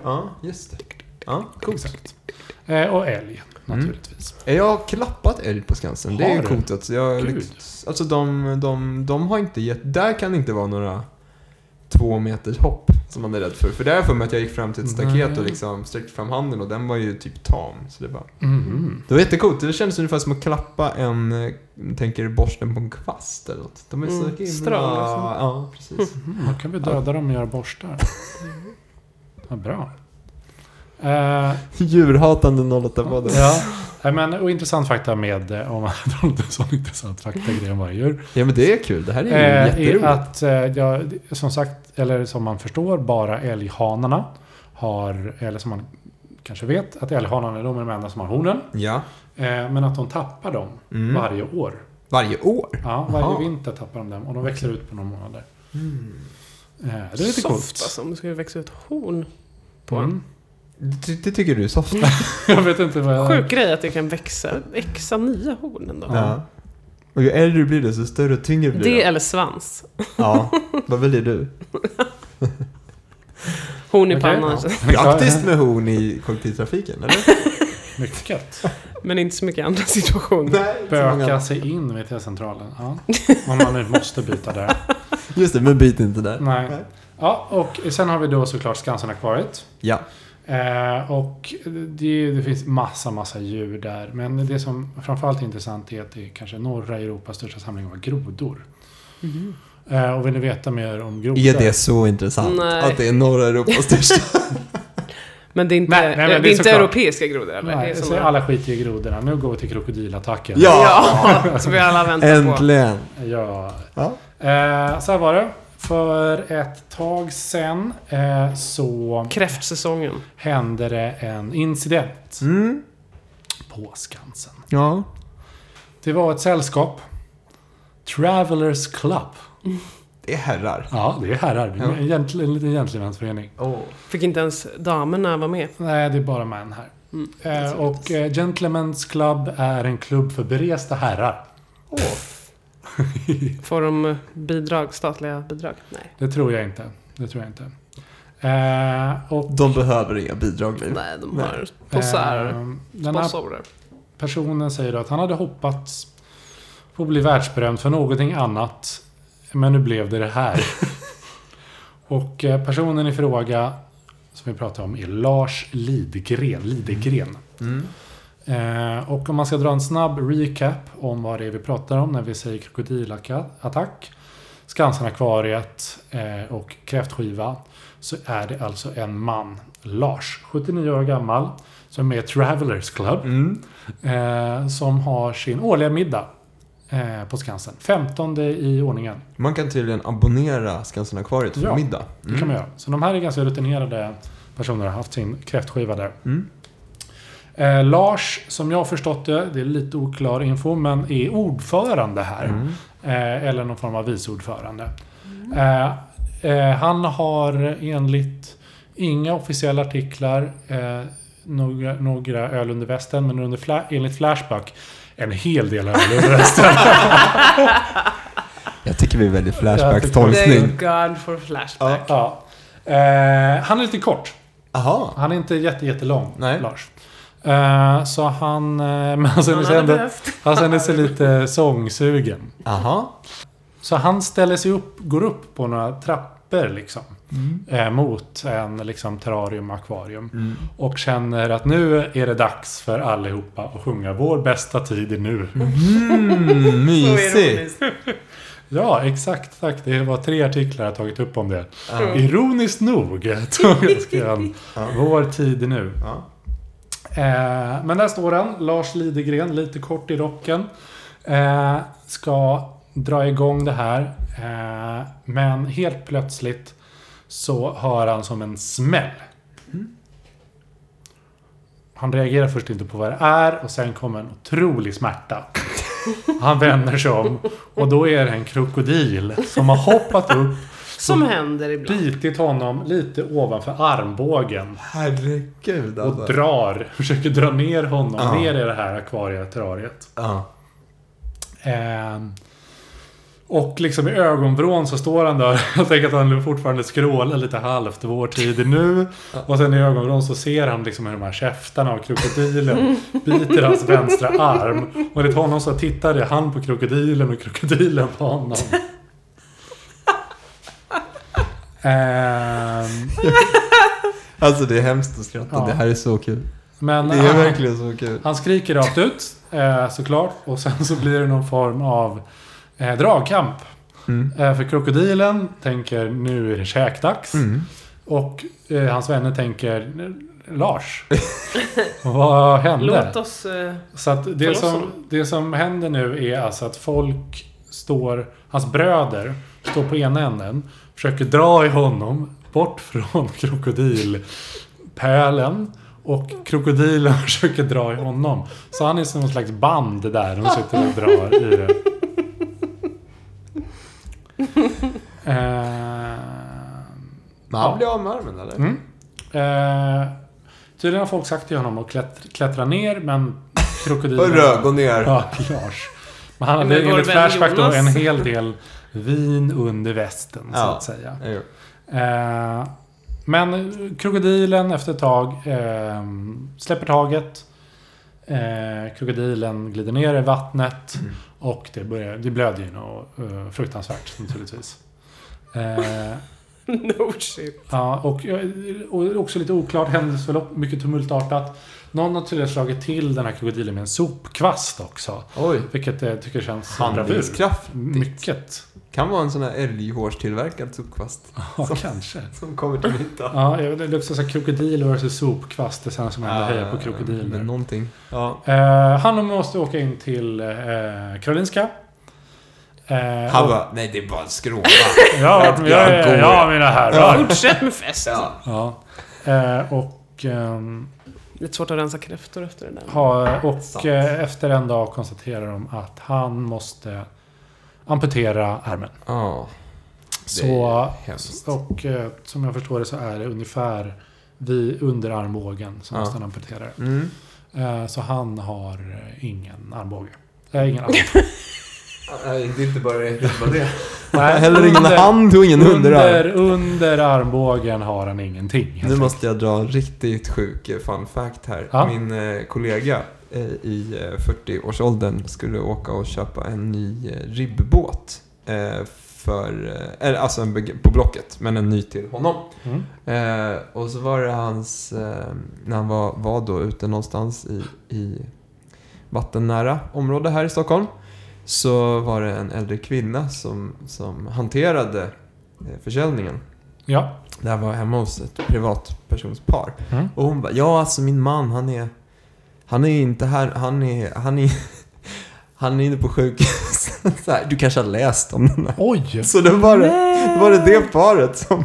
Ja, just det. Ja, coolt. Exakt. Eh, och älg, Mm. naturligtvis. Jag har klappat älg på Skansen. Det Har är ju du? coolt. Alltså, jag, har Gud. lyckats- alltså de, de, de har inte gett... Där kan det inte vara några två meters hopp som man är rädd för. För där för mig att jag gick fram till ett staket Nej. och liksom sträckte fram handen och den var ju typ tam. Så det, bara... Mhm. det var jättecoolt. Det kändes ungefär som att klappa en, eh, tänker borsten på en kvast eller något. De är så Mm, himla... stram, liksom. Ja, precis. Mm, då kan vi döda dem och göra borstar. Vad bra. Eh, Djurhatande 08-podden. ja. Nej, men, och intressant fakta med, eh, om man drar en sån intressant fakta grej om varje Ja men det är kul. Det här är ju eh, är jätteroligt. att, eh, ja, som sagt, eller som man förstår, bara älghanarna har, eller som man kanske vet, att älghanarna är de är de enda som har hornen. Ja. Eh, men att de tappar dem Mm. varje år. Varje år? Ja, varje Aha. vinter tappar de dem och de växer ut på några månader. Eh, det är lite Soft coolt. alltså, om det skulle växa ut horn på en. Mm. Det, det tycker du är soft. Jag vet inte vad jag... Sjuk grej att det kan växa, växa nya horn ändå. Ja. Och ju äldre du blir desto större och tyngre blir Det de. eller svans. Ja. Vad väljer du? Horn i Okej. pannan. Praktiskt med horn i kollektivtrafiken, eller? Mycket. Men inte så mycket andra situationer. Nej, inte så Böka många. sig in vid T-centralen. Ja. Om man nu måste byta där. Just det, men byt inte där. Nej. Ja, och sen har vi då såklart Skansen-akvariet. Ja. Eh, och det, det finns massa, massa djur där. Men det som framförallt är intressant är att det är kanske norra Europas största samling av grodor. Mhm. Eh, och vill ni veta mer om grodor? Är det så intressant? Nej. Att det är norra Europas största? Men det är inte, Nej, nej, det men det är är inte såklart. europeiska grodor eller? det Nej, är så såna, alla skiter i grodorna. Nu går vi till krokodilattacken. Ja! ja, som vi alla väntar på. Äntligen! ja. Ja. Eh, så här var det. För ett tag sen eh, så Kräftsäsongen. hände det en incident Mm. på Skansen. Ja. Det var ett sällskap. Travelers Club. Det är herrar. Ja, det är herrar. Ja. En, gentle, en liten gentlemanförening. Oh. Fick inte ens damerna vara med. Nej, det är bara män här. Mm. Eh, och eh, Gentlemen's Club är en klubb för beresta herrar. Får de eh, bidrag, statliga bidrag? Nej. Det tror jag inte. Det tror jag inte. Eh, och, De behöver inga bidrag nu. Nej, de har eh, posar. den här Sponsorer. personen säger då att han hade hoppats på att bli världsberömd för någonting annat. Men nu blev det det här. och eh, personen i fråga som vi pratar om är Lars Lidgren. Lidegren. Mm. Eh, och om man ska dra en snabb recap om vad det är vi pratar om när vi säger krokodilattack, Skansen-akvariet eh, och kräftskiva så är det alltså en man, Lars, 79 år gammal, som är Travelers Club, Mm. eh, som har sin årliga middag eh, på Skansen. 15 i ordningen. Man kan tydligen abonnera Skansen-akvariet för Ja, middag. Det kan man göra. Så de här är ganska rutinerade personer och har haft sin kräftskiva där. Mm. Eh, Lars, som jag har förstått det, det är lite oklar info, men är ordförande här. Mm. Eh, eller någon form av viceordförande. Eh, eh, han har enligt inga officiella artiklar, eh, några, några öl under västen, men under fla- enligt Flashback en hel del öl under västen. Jag tycker vi är väldigt Thank Flashbacks-tolkning. God for flashback. Ja. ja. eh, han är lite kort. Aha. Han är inte jätte, jättelång, Nej. Lars. Eh, så han... Eh, men han känner Han sig, hade ändå, behövt. han känner sig lite sångsugen. Aha. Så han ställer sig upp, går upp på några trappor liksom. Mm. Eh, mot en liksom, terrarium akvarium. Och känner att nu är det dags för allihopa att sjunga Vår bästa tid är nu. Mm, Så mysigt. ironiskt. Ja, exakt. Tack. Det var tre artiklar jag tagit upp om det. Ja. Ironiskt nog tog jag skrev han, Ja. Vår tid är nu. Ja. Eh, men där står han, Lars Lidegren, lite kort i rocken. Eh, ska dra igång det här. Eh, men helt plötsligt så hör han som en smäll. Han reagerar först inte på vad det är och sen kommer en otrolig smärta. Han vänder sig om och då är det en krokodil som har hoppat upp, Som händer ibland. bitit honom lite ovanför armbågen. Herregud Och alltså. drar, försöker dra ner honom Ja. ner i det här akvarieterrariet. Ja. Eh, och liksom i ögonvrån så står han där. Jag tänker att han fortfarande skrålar lite halvt. Vår tid är nu. Och sen i ögonvrån så ser han liksom hur de här käftarna av krokodilen biter hans vänstra arm. Och enligt honom så tittade han på krokodilen och krokodilen på honom. Ehm, Alltså det är hemskt att skratta. Ja. Det här är så kul. men Det är han- verkligen så kul. Han skriker rakt ut, eh, såklart. Och sen så blir det någon form av eh, dragkamp. Mm. Eh, för krokodilen tänker nu är det käkdags. Mm. Och eh, hans vänner tänker Lars. Vad hände? Låt oss... Eh, Så att det, Förlåt, som, honom. det som händer nu är alltså att folk står, hans bröder står på ena änden, försöker dra i honom bort från krokodilpölen. Och krokodilen försöker dra i honom. Så han är som någon slags band där. De sitter och drar i det. Eh, Men han blir av med armen eller? Mm. Eh, tydligen har folk sagt till honom att klättra, klättra ner, men krokodilen... Hörru, gå ner. Ja, Lars. Men han hade Men vår enligt vän Flashback då Jonas. en hel del vin under västen, så Ja. att säga. Jo. Eh, men krokodilen efter ett tag eh, släpper taget. Eh, krokodilen glider ner i vattnet. Och det, börjar, det blöder ju något eh, fruktansvärt naturligtvis. Eh, no shit. Ja, och, eh, och också lite oklart händelseförlopp, mycket tumultartat. Någon har tydligen slagit till den här krokodilen med en sopkvast också. Oj. Vilket jag tycker känns bravur. Handlingskraft. Mm. Mycket. Kan vara en sån här älghårstillverkad sopkvast Ja, Som- kanske. som kommer till nytta. Ja, jag vet inte, det är också så här krokodil versus sopkvast. Det är sådana som ändå hejar på krokodiler. Men någonting. Ja. Eh, han måste åka in till eh, Karolinska. Eh, Han och- bara, nej det är bara en skråpa. ja, ja, ja, ja, mina herrar. Fortsätt med festen. ja. Ja. Eh, och... ehm, Lite svårt att rensa kräftor efter det där. Ha, och Sant. eh, efter en dag konstaterar de att han måste amputera armen. Ja. Så, hemskt. och eh, som jag förstår det så är det ungefär vid underarmbågen som Ja. måste han amputera. Mm. Eh, Så han har eh, ingen armbåge. Äh, ingen arm. Nej, det är inte bara det. Det är inte bara det. Nej, Heller ingen under- hand och ingen underarm. Under, under armbågen har han ingenting. Mm. helt Nu måste jag dra en riktigt sjuk eh, fun fact här. Ja. Min eh, kollega eh, i eh, 40-årsåldern skulle åka och köpa en ny eh, ribbåt. Eh, för, eh, eller alltså en, beg- på Blocket, men en ny till honom. enkelt. Mm. Eh, och så var det hans, eh, när han var, var då ute någonstans i, i vattennära område här i Stockholm. Så var det en äldre kvinna som, som hanterade eh, försäljningen. Ja. Det här var hemma hos ett privatpersonspar. Mm. Och hon bara, ja alltså min man han är, han är inte här, han är, han är, han är inne på sjukhus. Så här, du kanske har läst om den här. Oj! Så det var det, Nej. det, var det, det paret som,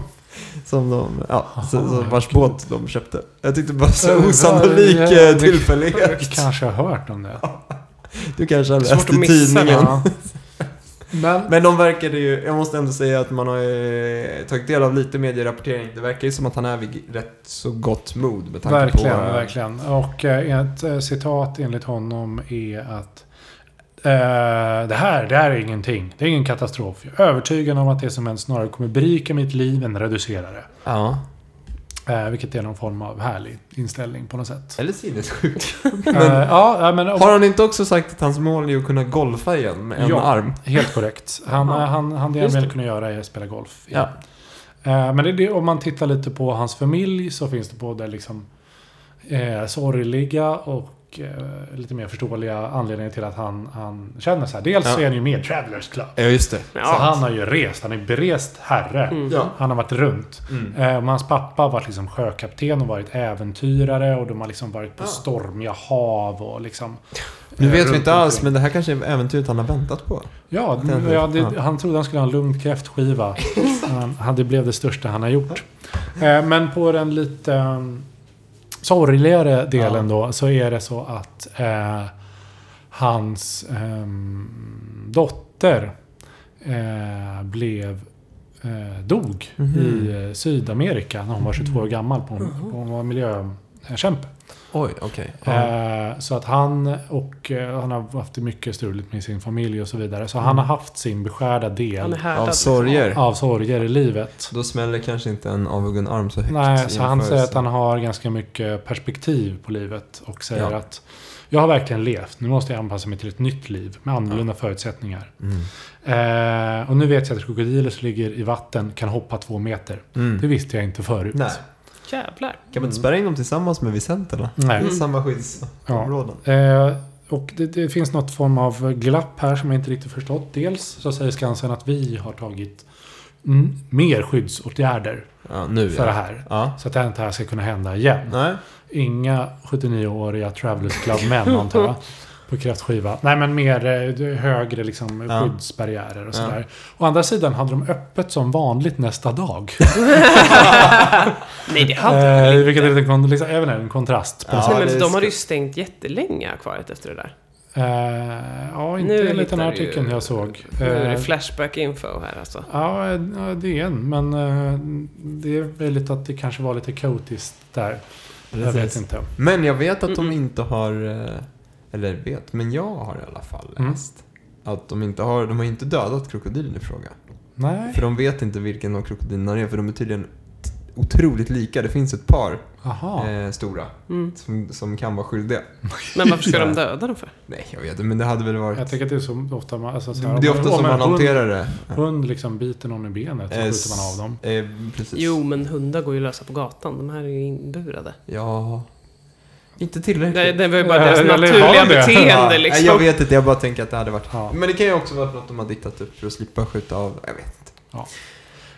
som de, ja, så, Aha, så vars gud. båt de köpte. Jag tyckte bara så Ja, osannolik ja, eh, det- tillfällighet. Jag kanske har hört om det. Du kanske har Svårt läst att i missa tidningen. Ja. Men Men de verkade ju, jag måste ändå säga att man har eh, tagit del av lite medierapportering. Det verkar ju som att han är vid rätt så gott mod med tanke Verkligen, på... eh, verkligen. Och eh, ett eh, citat enligt honom är att eh, det här, det här är ingenting. Det är ingen katastrof. Jag är övertygad om att det som hänt snarare kommer berika mitt liv än reducera det. Ja. Eh, Eh, vilket är någon form av härlig inställning på något sätt. Eller sinnessjuk. eh, ja, ja, men, Har han inte också sagt att hans mål är att kunna golfa igen med en Ja. arm? Helt korrekt. Han, Ja. han, han, det han Just vill det. kunna göra är att spela golf. Ja. Eh, Men det, är det, om man tittar lite på hans familj så finns det både liksom, eh, sorgliga och eh, lite mer förståeliga anledningar till att han, han känner så här. Dels Ja. så är han ju med i Travelers Club. Ja, just det. Så Ja. han har ju rest. Han är berest herre. Mm. Ja. Han har varit runt. Mm. Eh, och hans pappa har varit liksom sjökapten och varit äventyrare och de har liksom varit på Ja. stormiga hav och liksom... Nu eh, vet vi runt inte alls, omkring. men det här kanske är äventyret han har väntat på. Ja, Den- men ja, det, ja. han trodde han skulle ha en lugn kräftskiva. han, han, det blev det största han har gjort. Eh, men på den lite eh, sorgligare delen då så är det så att eh, hans ehm, dotter eh, blev eh, dog Mhm. i eh, Sydamerika när hon var 22 år gammal. På, på, hon var miljökämpe. Oj, okej. Eh, Så att han och eh, han har haft det mycket struligt med sin familj och så vidare. Så Mm. han har haft sin beskärda Han är del härdad. Av sorger. av sorger i livet. Då smäller kanske inte en avhuggen arm så högt. Nej, så han jämförelse. säger att han har ganska mycket perspektiv på livet och säger Ja. att jag har verkligen levt. Nu måste jag anpassa mig till ett nytt liv med annorlunda förutsättningar. Mm. Eh, och nu vet jag att krokodiler som ligger i vatten kan hoppa två meter. Mm. Det visste jag inte förut. Nej. Jävlar. Kan man inte spärra in dem tillsammans med visenterna? Nej. Det är samma skyddsområden. Eh, och det, det finns något form av glapp här som jag inte riktigt förstått. Dels så säger Skansen att vi har tagit mm, mer skyddsåtgärder Ja. Ja, nu för det ja. här. ja. Så att det inte här ska kunna hända igen. Nej. Inga 79-åriga Travelers Club-män antar jag. På kräftskiva. Nej men mer eh, högre liksom, Ja. skyddsbarriärer och Ja. sådär. Å andra sidan hade de öppet som vanligt nästa dag. Nej, det hade eh, vilket är lite kon- liksom, även en kontrast. På Ja, ja. Nej, det men är de hade ju skönt. stängt jättelänge akvariet efter det där. Eh, ja, inte Nu enligt den här hittar du- artikeln jag såg. Nu är det Eh, flashback info här alltså. Ja, eh, ja, det är en. Men eh, det är möjligt att det kanske var lite kaotiskt där. Jag vet Precis. inte. Men jag vet att de Mm-mm. inte har, eh, eller vet, men jag har i alla fall Mm. läst. Att de inte har, de har inte dödat krokodilen i fråga. Nej. För de vet inte vilken av krokodilerna det är, för de är tydligen t- otroligt lika. Det finns ett par Aha. eh, stora Mm. som, som kan vara skyldiga. Men varför ska de döda dem för? Nej, jag vet inte, men det hade väl varit... Jag tänker att det är så ofta man... Alltså, så här, det är om- ofta om som en man hund- hanterar det. Hund liksom biter någon i benet så Eh, skjuter man av dem. Eh, precis. Jo, men hundar går ju lösa på gatan. De här är ju inburade. Ja. Inte Det, tillräckligt. det var ju Ja, bara deras eller var naturliga det? beteende Ja, liksom. nej, Jag vet inte, jag bara tänker att det hade varit... Ja. Men det kan ju också vara för att de har diktat upp för att slippa skjuta av... Jag vet inte.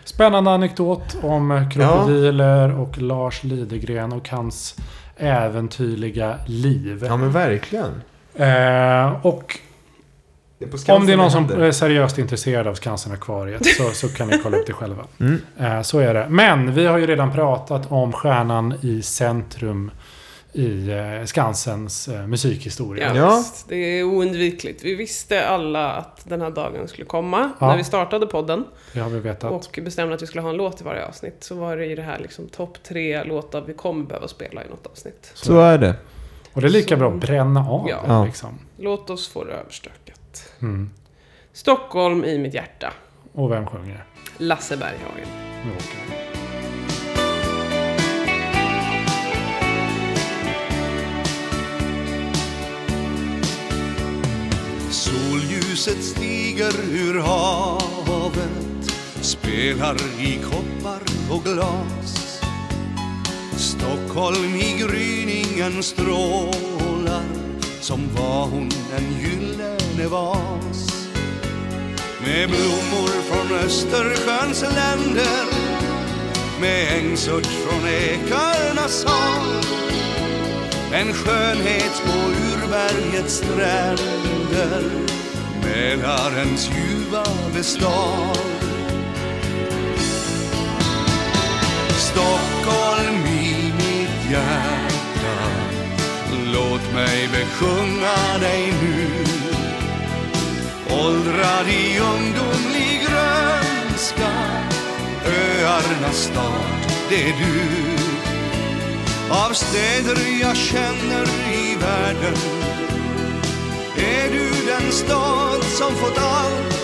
Spännande anekdot om eh, krokodiler och Lars Lidegren och hans äventyrliga liv. Ja men verkligen. Eh, och Det om det är på är Skansen någon som händer. är seriöst intresserad av Skansen-akvariet så, så kan ni kolla upp det själva. Mm. Eh, Så är det. Men vi har ju redan pratat om stjärnan i centrum i eh, Skansens eh, musikhistoria. Ja, Ja. Visst, det är oundvikligt. Vi visste alla att den här dagen skulle komma. Ja. När vi startade podden Det har vi vetat. och bestämde att vi skulle ha en låt i varje avsnitt så var det ju det här liksom topp tre låtar vi kommer behöva spela i något avsnitt. Så är det. Och det är lika Så- bra att bränna av Ja. den, liksom. Låt oss få det överstökat. Mm. Stockholm i mitt hjärta. Och vem sjunger? Lasse Berghagen. Nu åker vi. Solljuset stiger ur havet Spelar i koppar och glas Stockholm i gryningen strålar Som var hon en gyllene vas Med blommor från Östersjöns länder Med ängsört från ekarnas hav en skönhet på urbergets stränder Mälarens ljuva bestad Stockholm i mitt hjärta Låt mig besjunga dig nu Åldrad i ungdomlig grönska Öarnas stad, det är du av städer jag känner i världen är du den stad som fått allt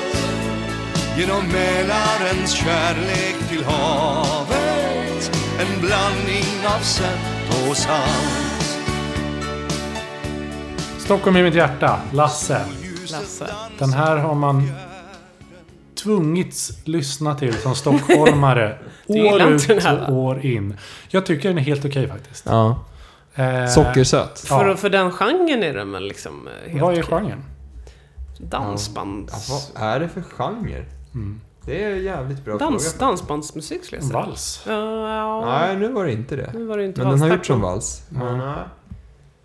genom Mälarens kärlek till havet en blandning av sött och salt Stockholm i mitt hjärta, Lasse. Lasse. Den här har man tvungits lyssna till som stockholmare. år gillar ut inte den här, och va? år in. Jag tycker den är helt okej faktiskt. Ja. Eh, Sockersöt. Ja. För, för den genren är den väl liksom eh, helt Vad är okej. genren? Dansbands... Ja, vad är det för genre? Mm. Det är en jävligt bra Dans, fråga. dansbandsmusik skulle jag säga. Vals? Ja, ja. Nej, nu var det inte det. Nu var det inte Men den har valstack, gjorts som men- vals. Mm. Mm. Men,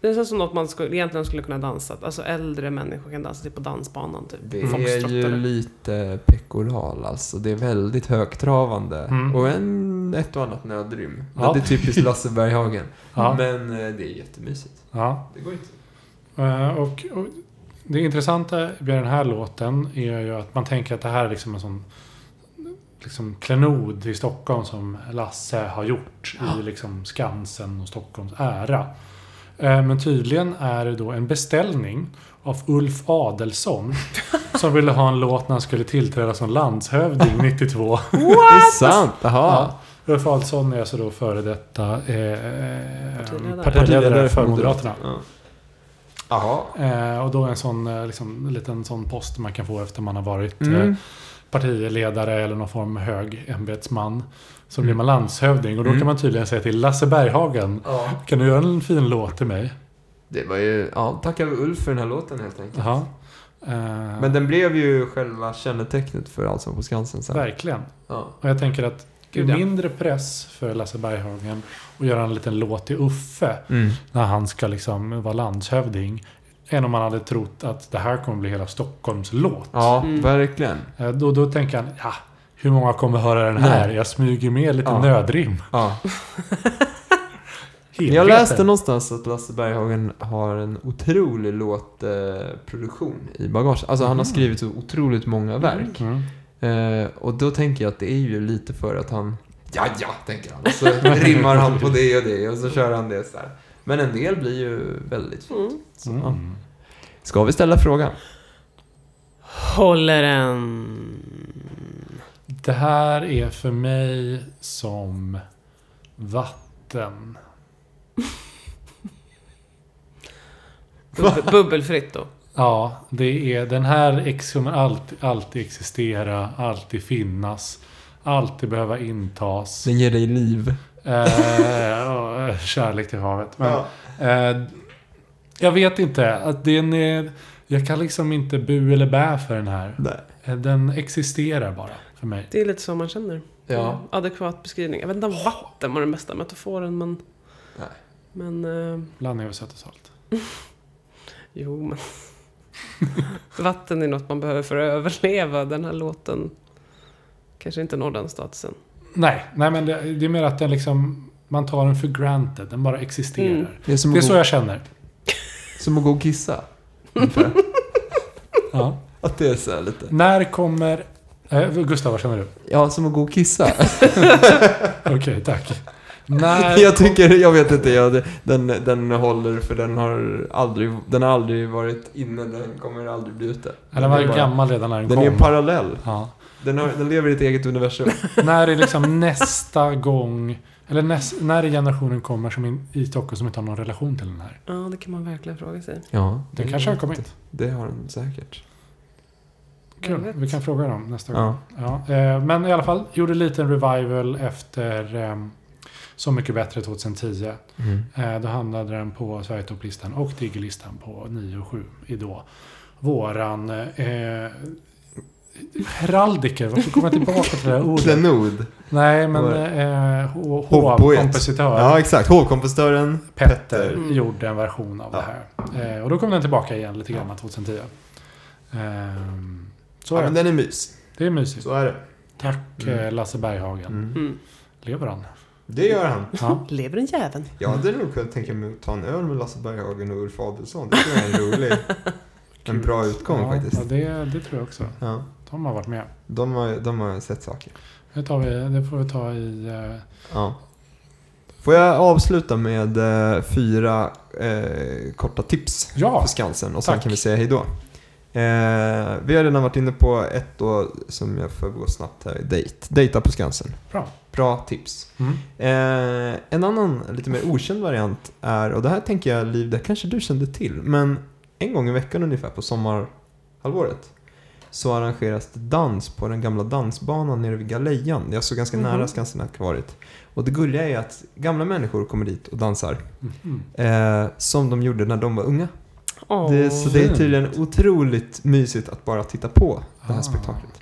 Det känns som något man skulle, egentligen skulle kunna dansa. Alltså äldre människor kan dansa typ på dansbanan. Typ. Det är Foxtrot ju eller- lite pekoral alltså. Det är väldigt högtravande. Mm. Och en, ett och annat nödrym. Ja. Det är typiskt Lasse Berghagen. Ja. Men eh, det är jättemysigt. Ja. Det går inte. Eh, Och, och det intressanta med den här låten är ju att man tänker att det här är liksom en sån liksom klenod i Stockholm som Lasse har gjort i liksom Skansen och Stockholms ära. Eh, Men tydligen är det då en beställning av Ulf Adelsson som ville ha en låt när han skulle tillträda som landshövding 92. Det är sant! Jaha. Ulf Adelsson är alltså då före detta eh, Partiledare. partiledare för Moderaterna. Ja. Jaha. Eh, och då en sån eh, liksom, liten sån post man kan få efter man har varit eh, Mm. partiledare eller någon form av hög ämbetsman. Så blir man landshövding och då kan man tydligen säga till Lasse Berghagen Ja. Kan du göra en fin låt till mig? Det var ju... Ja, tackar vi Ulf för den här låten helt enkelt. Jaha. Eh, Men den blev ju själva kännetecknet för Allsång på Skansen sen. Verkligen. Ja. Och jag tänker att Gud, ja. mindre press för Lasse Berghagen att göra en liten låt till Uffe Mm. när han ska liksom vara landshövding. Än om man hade trott att det här kommer bli hela Stockholms låt. Ja, verkligen. Eh, Då, då tänker han, ja, hur många kommer höra den här? Jag smyger med lite Ja. nödrim. Ja. Jag Helheten. läste någonstans att Lasse Berghagen har en otrolig låtproduktion i bagage. Alltså han har skrivit så otroligt många verk. Mm. Eh, och då tänker jag att det är ju lite för att han... Ja, ja, tänker han. Och så rimmar han på det och det och så kör han det så här. Men en del blir ju väldigt fint. Så, ja. Mm. Ska vi ställa frågan? Håller en... Det här är för mig som vatten. Bub- bubbelfritt då. Ja, det är, den här ex kommer alltid, alltid existera, alltid finnas, alltid behöva intas. Den ger dig liv. Eh, och kärlek till havet. Men, eh, jag vet inte. Att den är, jag kan liksom inte bu eller bä för den här. Nej. Eh, Den existerar bara för mig. Det är lite så man känner. Ja. Mm. Adekvat beskrivning. Jag vet inte om vatten var den bästa metaforen, men... Nej. Men... Eh, Blandning av sött och salt. jo, men... vatten är något man behöver för att överleva. Den här låten kanske inte når den statusen. Nej, nej men det, det är mer att den liksom... Man tar den för granted. Den bara existerar. Mm. Det är som, Det är att, så gå, jag känner. som att gå och kissa. Ungefär. Ja. att det är så här lite. När kommer... Eh, Gustav, vad känner du? Ja, som att gå och kissa. Okej, tack. När... Jag tycker, jag vet inte, jag, den, den håller för den har aldrig, den har aldrig varit inne, den kommer aldrig bli ute. Ja, den var ju gammal redan när den, Den kom. är parallell. ja. Den, har, den lever i ett eget universum. När är liksom nästa gång... Eller näs, när är generationen kommer som in, i Stockholm som inte har någon relation till den här? Ja, det kan man verkligen fråga sig. Ja. Den kanske har kommit. Mm. Det har den säkert. Jag Kul. vet. Vi kan fråga dem nästa gång. Ja. Ja, eh, men i alla fall, gjorde en liten revival efter eh, Så mycket bättre 2010. Eh, då hamnade den på Sverigetopplistan och Diggerlistan på 9 och 7 i då. Våran... Eh, Heraldiker, varför kommer jag tillbaka till det här ordet? Klenod. Nej, men Vår- eh, ho- Hovpoet. hovkompositör. Ja, exakt. Hovkompositören Petter Mm. gjorde en version av Ja. det här. Eh, och då kom den tillbaka igen lite grann 2010. Ehm, så Ja, är men det. den är mys. Det är mysigt. Så är det. Tack Mm. eh, Lasse Berghagen. Mm. Mm. Lever han? Det gör han. Ja. Lever den jäveln? Jag hade nog kunnat tänka mig att ta en öl med Lasse Berghagen och Ulf Adelsohn. Det tror jag är en rolig, en bra utgång ja, faktiskt. Ja, det, det tror jag också. Ja. De har varit med. De har, de har sett saker. Det, tar vi, det får vi ta i... Eh, Ja. Får jag avsluta med eh, fyra eh, korta tips Ja, för Skansen och sen tack. kan vi säga hejdå. Eh, vi har redan varit inne på ett då som jag förbigår snabbt här, dejt. Dejta på Skansen. bra. Bra tips. Mm. Eh, en annan lite mer okänd variant är, och det här tänker jag Liv, det kanske du kände till, men en gång i veckan ungefär på sommarhalvåret så arrangeras det dans på den gamla dansbanan nere vid Galejan. Jag såg ganska Mhm. nära Skansenakvariet. Och det gulliga är att gamla människor kommer dit och dansar Mhm. eh, som de gjorde när de var unga. Åh. Det, så det är fint. tydligen otroligt mysigt att bara titta på det här Ah. spektaklet. Så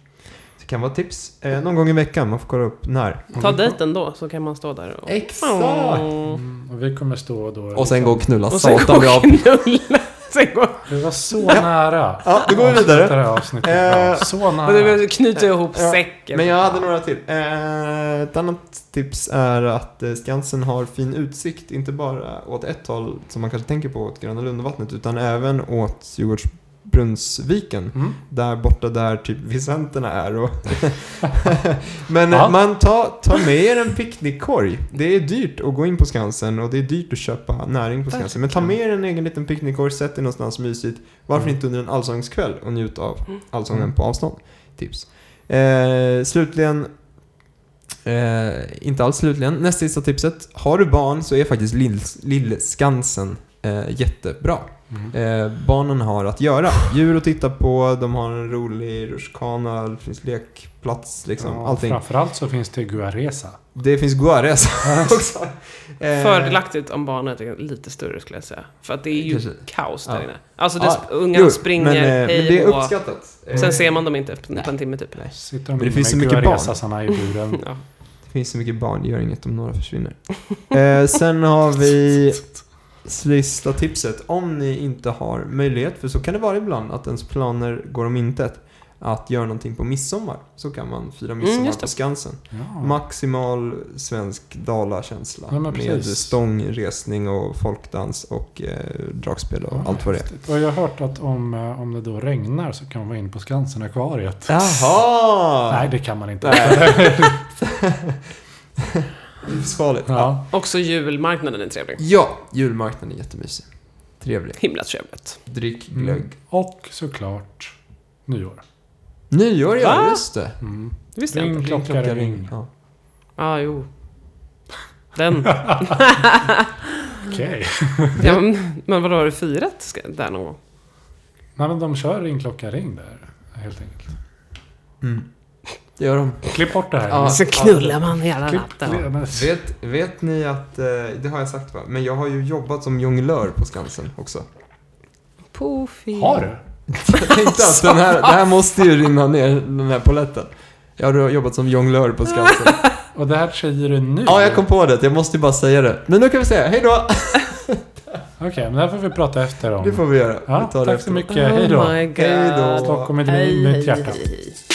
det kan vara ett tips. Eh, någon gång i veckan, man får kolla upp när. Ta dejten då, så kan man stå där och... Exakt! Åh. Mm. Och vi kommer stå då... Och sen gå och knulla Och sen gå satan och vi Ah. av knulla. Sen gå Det var så nära. Ja, då går vi Avsluta vidare. Det här avsnittet. Eh, Ja, så Och nära. du knyter ihop Ja, säcken. Men jag hade några till. Eh, ett annat tips är att eh, Skansen har fin utsikt, inte bara åt ett håll som man kanske tänker på, åt Gröna Lundavattnet, utan även åt Djurgårdsbrunnsviken. Mm. Där borta där typ Vicenterna är. Och Men Ja. eh, man tar ta med er en picknickkorg. Det är dyrt att gå in på Skansen och det är dyrt att köpa näring på Skansen. Men ta med er en egen liten picknickkorg, sätt er någonstans mysigt. Varför Mm. inte under en allsångskväll och njut av allsången Mm. på avstånd? Tips. Eh, slutligen, eh, inte alls slutligen, näst sista tipset. Har du barn så är faktiskt Lill- Lill-Skansen eh, jättebra. Mm. Eh, barnen har att göra. Djur att titta på, de har en rolig rutschkana, det finns lekplats, liksom, Ja, allting. Framförallt så finns det Guaresa. Det finns Guares också. Eh, Fördelaktigt om barnet är lite större skulle jag säga. För att det är ju Kanske. kaos där Ja. inne. Alltså det, Ja, ungarna jo, springer, men, eh, men hej det är då. uppskattat. Eh, Sen ser man dem inte på en timme typ. Nej. Sitter de det inne finns så med mycket barn. Guaresa-sarna i buren. Ja. Det finns så mycket barn, det gör inget om några försvinner. Eh, sen har vi sista tipset. Om ni inte har möjlighet, för så kan det vara ibland att ens planer går om intet, att göra någonting på midsommar, så kan man fira midsommar Mm, just det. på Skansen. Ja. Maximal svensk dalakänsla Ja, men med precis. stångresning och folkdans och eh, dragspel och Ja, allt vad det är. häftigt. Och jag har hört att om, eh, om det då regnar så kan man vara inne på Skansen-akvariet. Jaha! Nej, det kan man inte. Livsfarligt. Ja. Ja. Också julmarknaden är trevlig. ja, julmarknaden är jättemysig. Trevlig. Himla trevligt. Drick Mm. glögg. Och såklart nyår. Nyår ja, Va? just det. Mm. Det visste jag Ring, inte. klocka, ring. Ja. Ja, ah, jo. Den. Okej. Ja, men, men vadå, har du firat ska- där någon gång? Nej, men de kör ring, klocka, ring där. Helt enkelt. Det gör de. Klipp bort det här. Ja. Så knullar man hela Klipp, klipp, natten. men- Vet, vet ni att, eh, det har jag sagt va, men jag har ju jobbat som jonglör på Skansen också. Pofi. Oh Har du? Jag tänkte att den här, det här måste ju rinna ner, den här poletten. Jag har jobbat som jonglör på Skansen. Och det här säger du nu? Ja, jag kom på det. Jag måste ju bara säga det. Men nu kan vi säga hej då. Okej, men det här får vi prata efter om. Det får vi göra. Ja, vi tar det tack så efteråt. mycket. Hej då. Oh my god. Hej då. Stockholm är mitt hjärta. hej.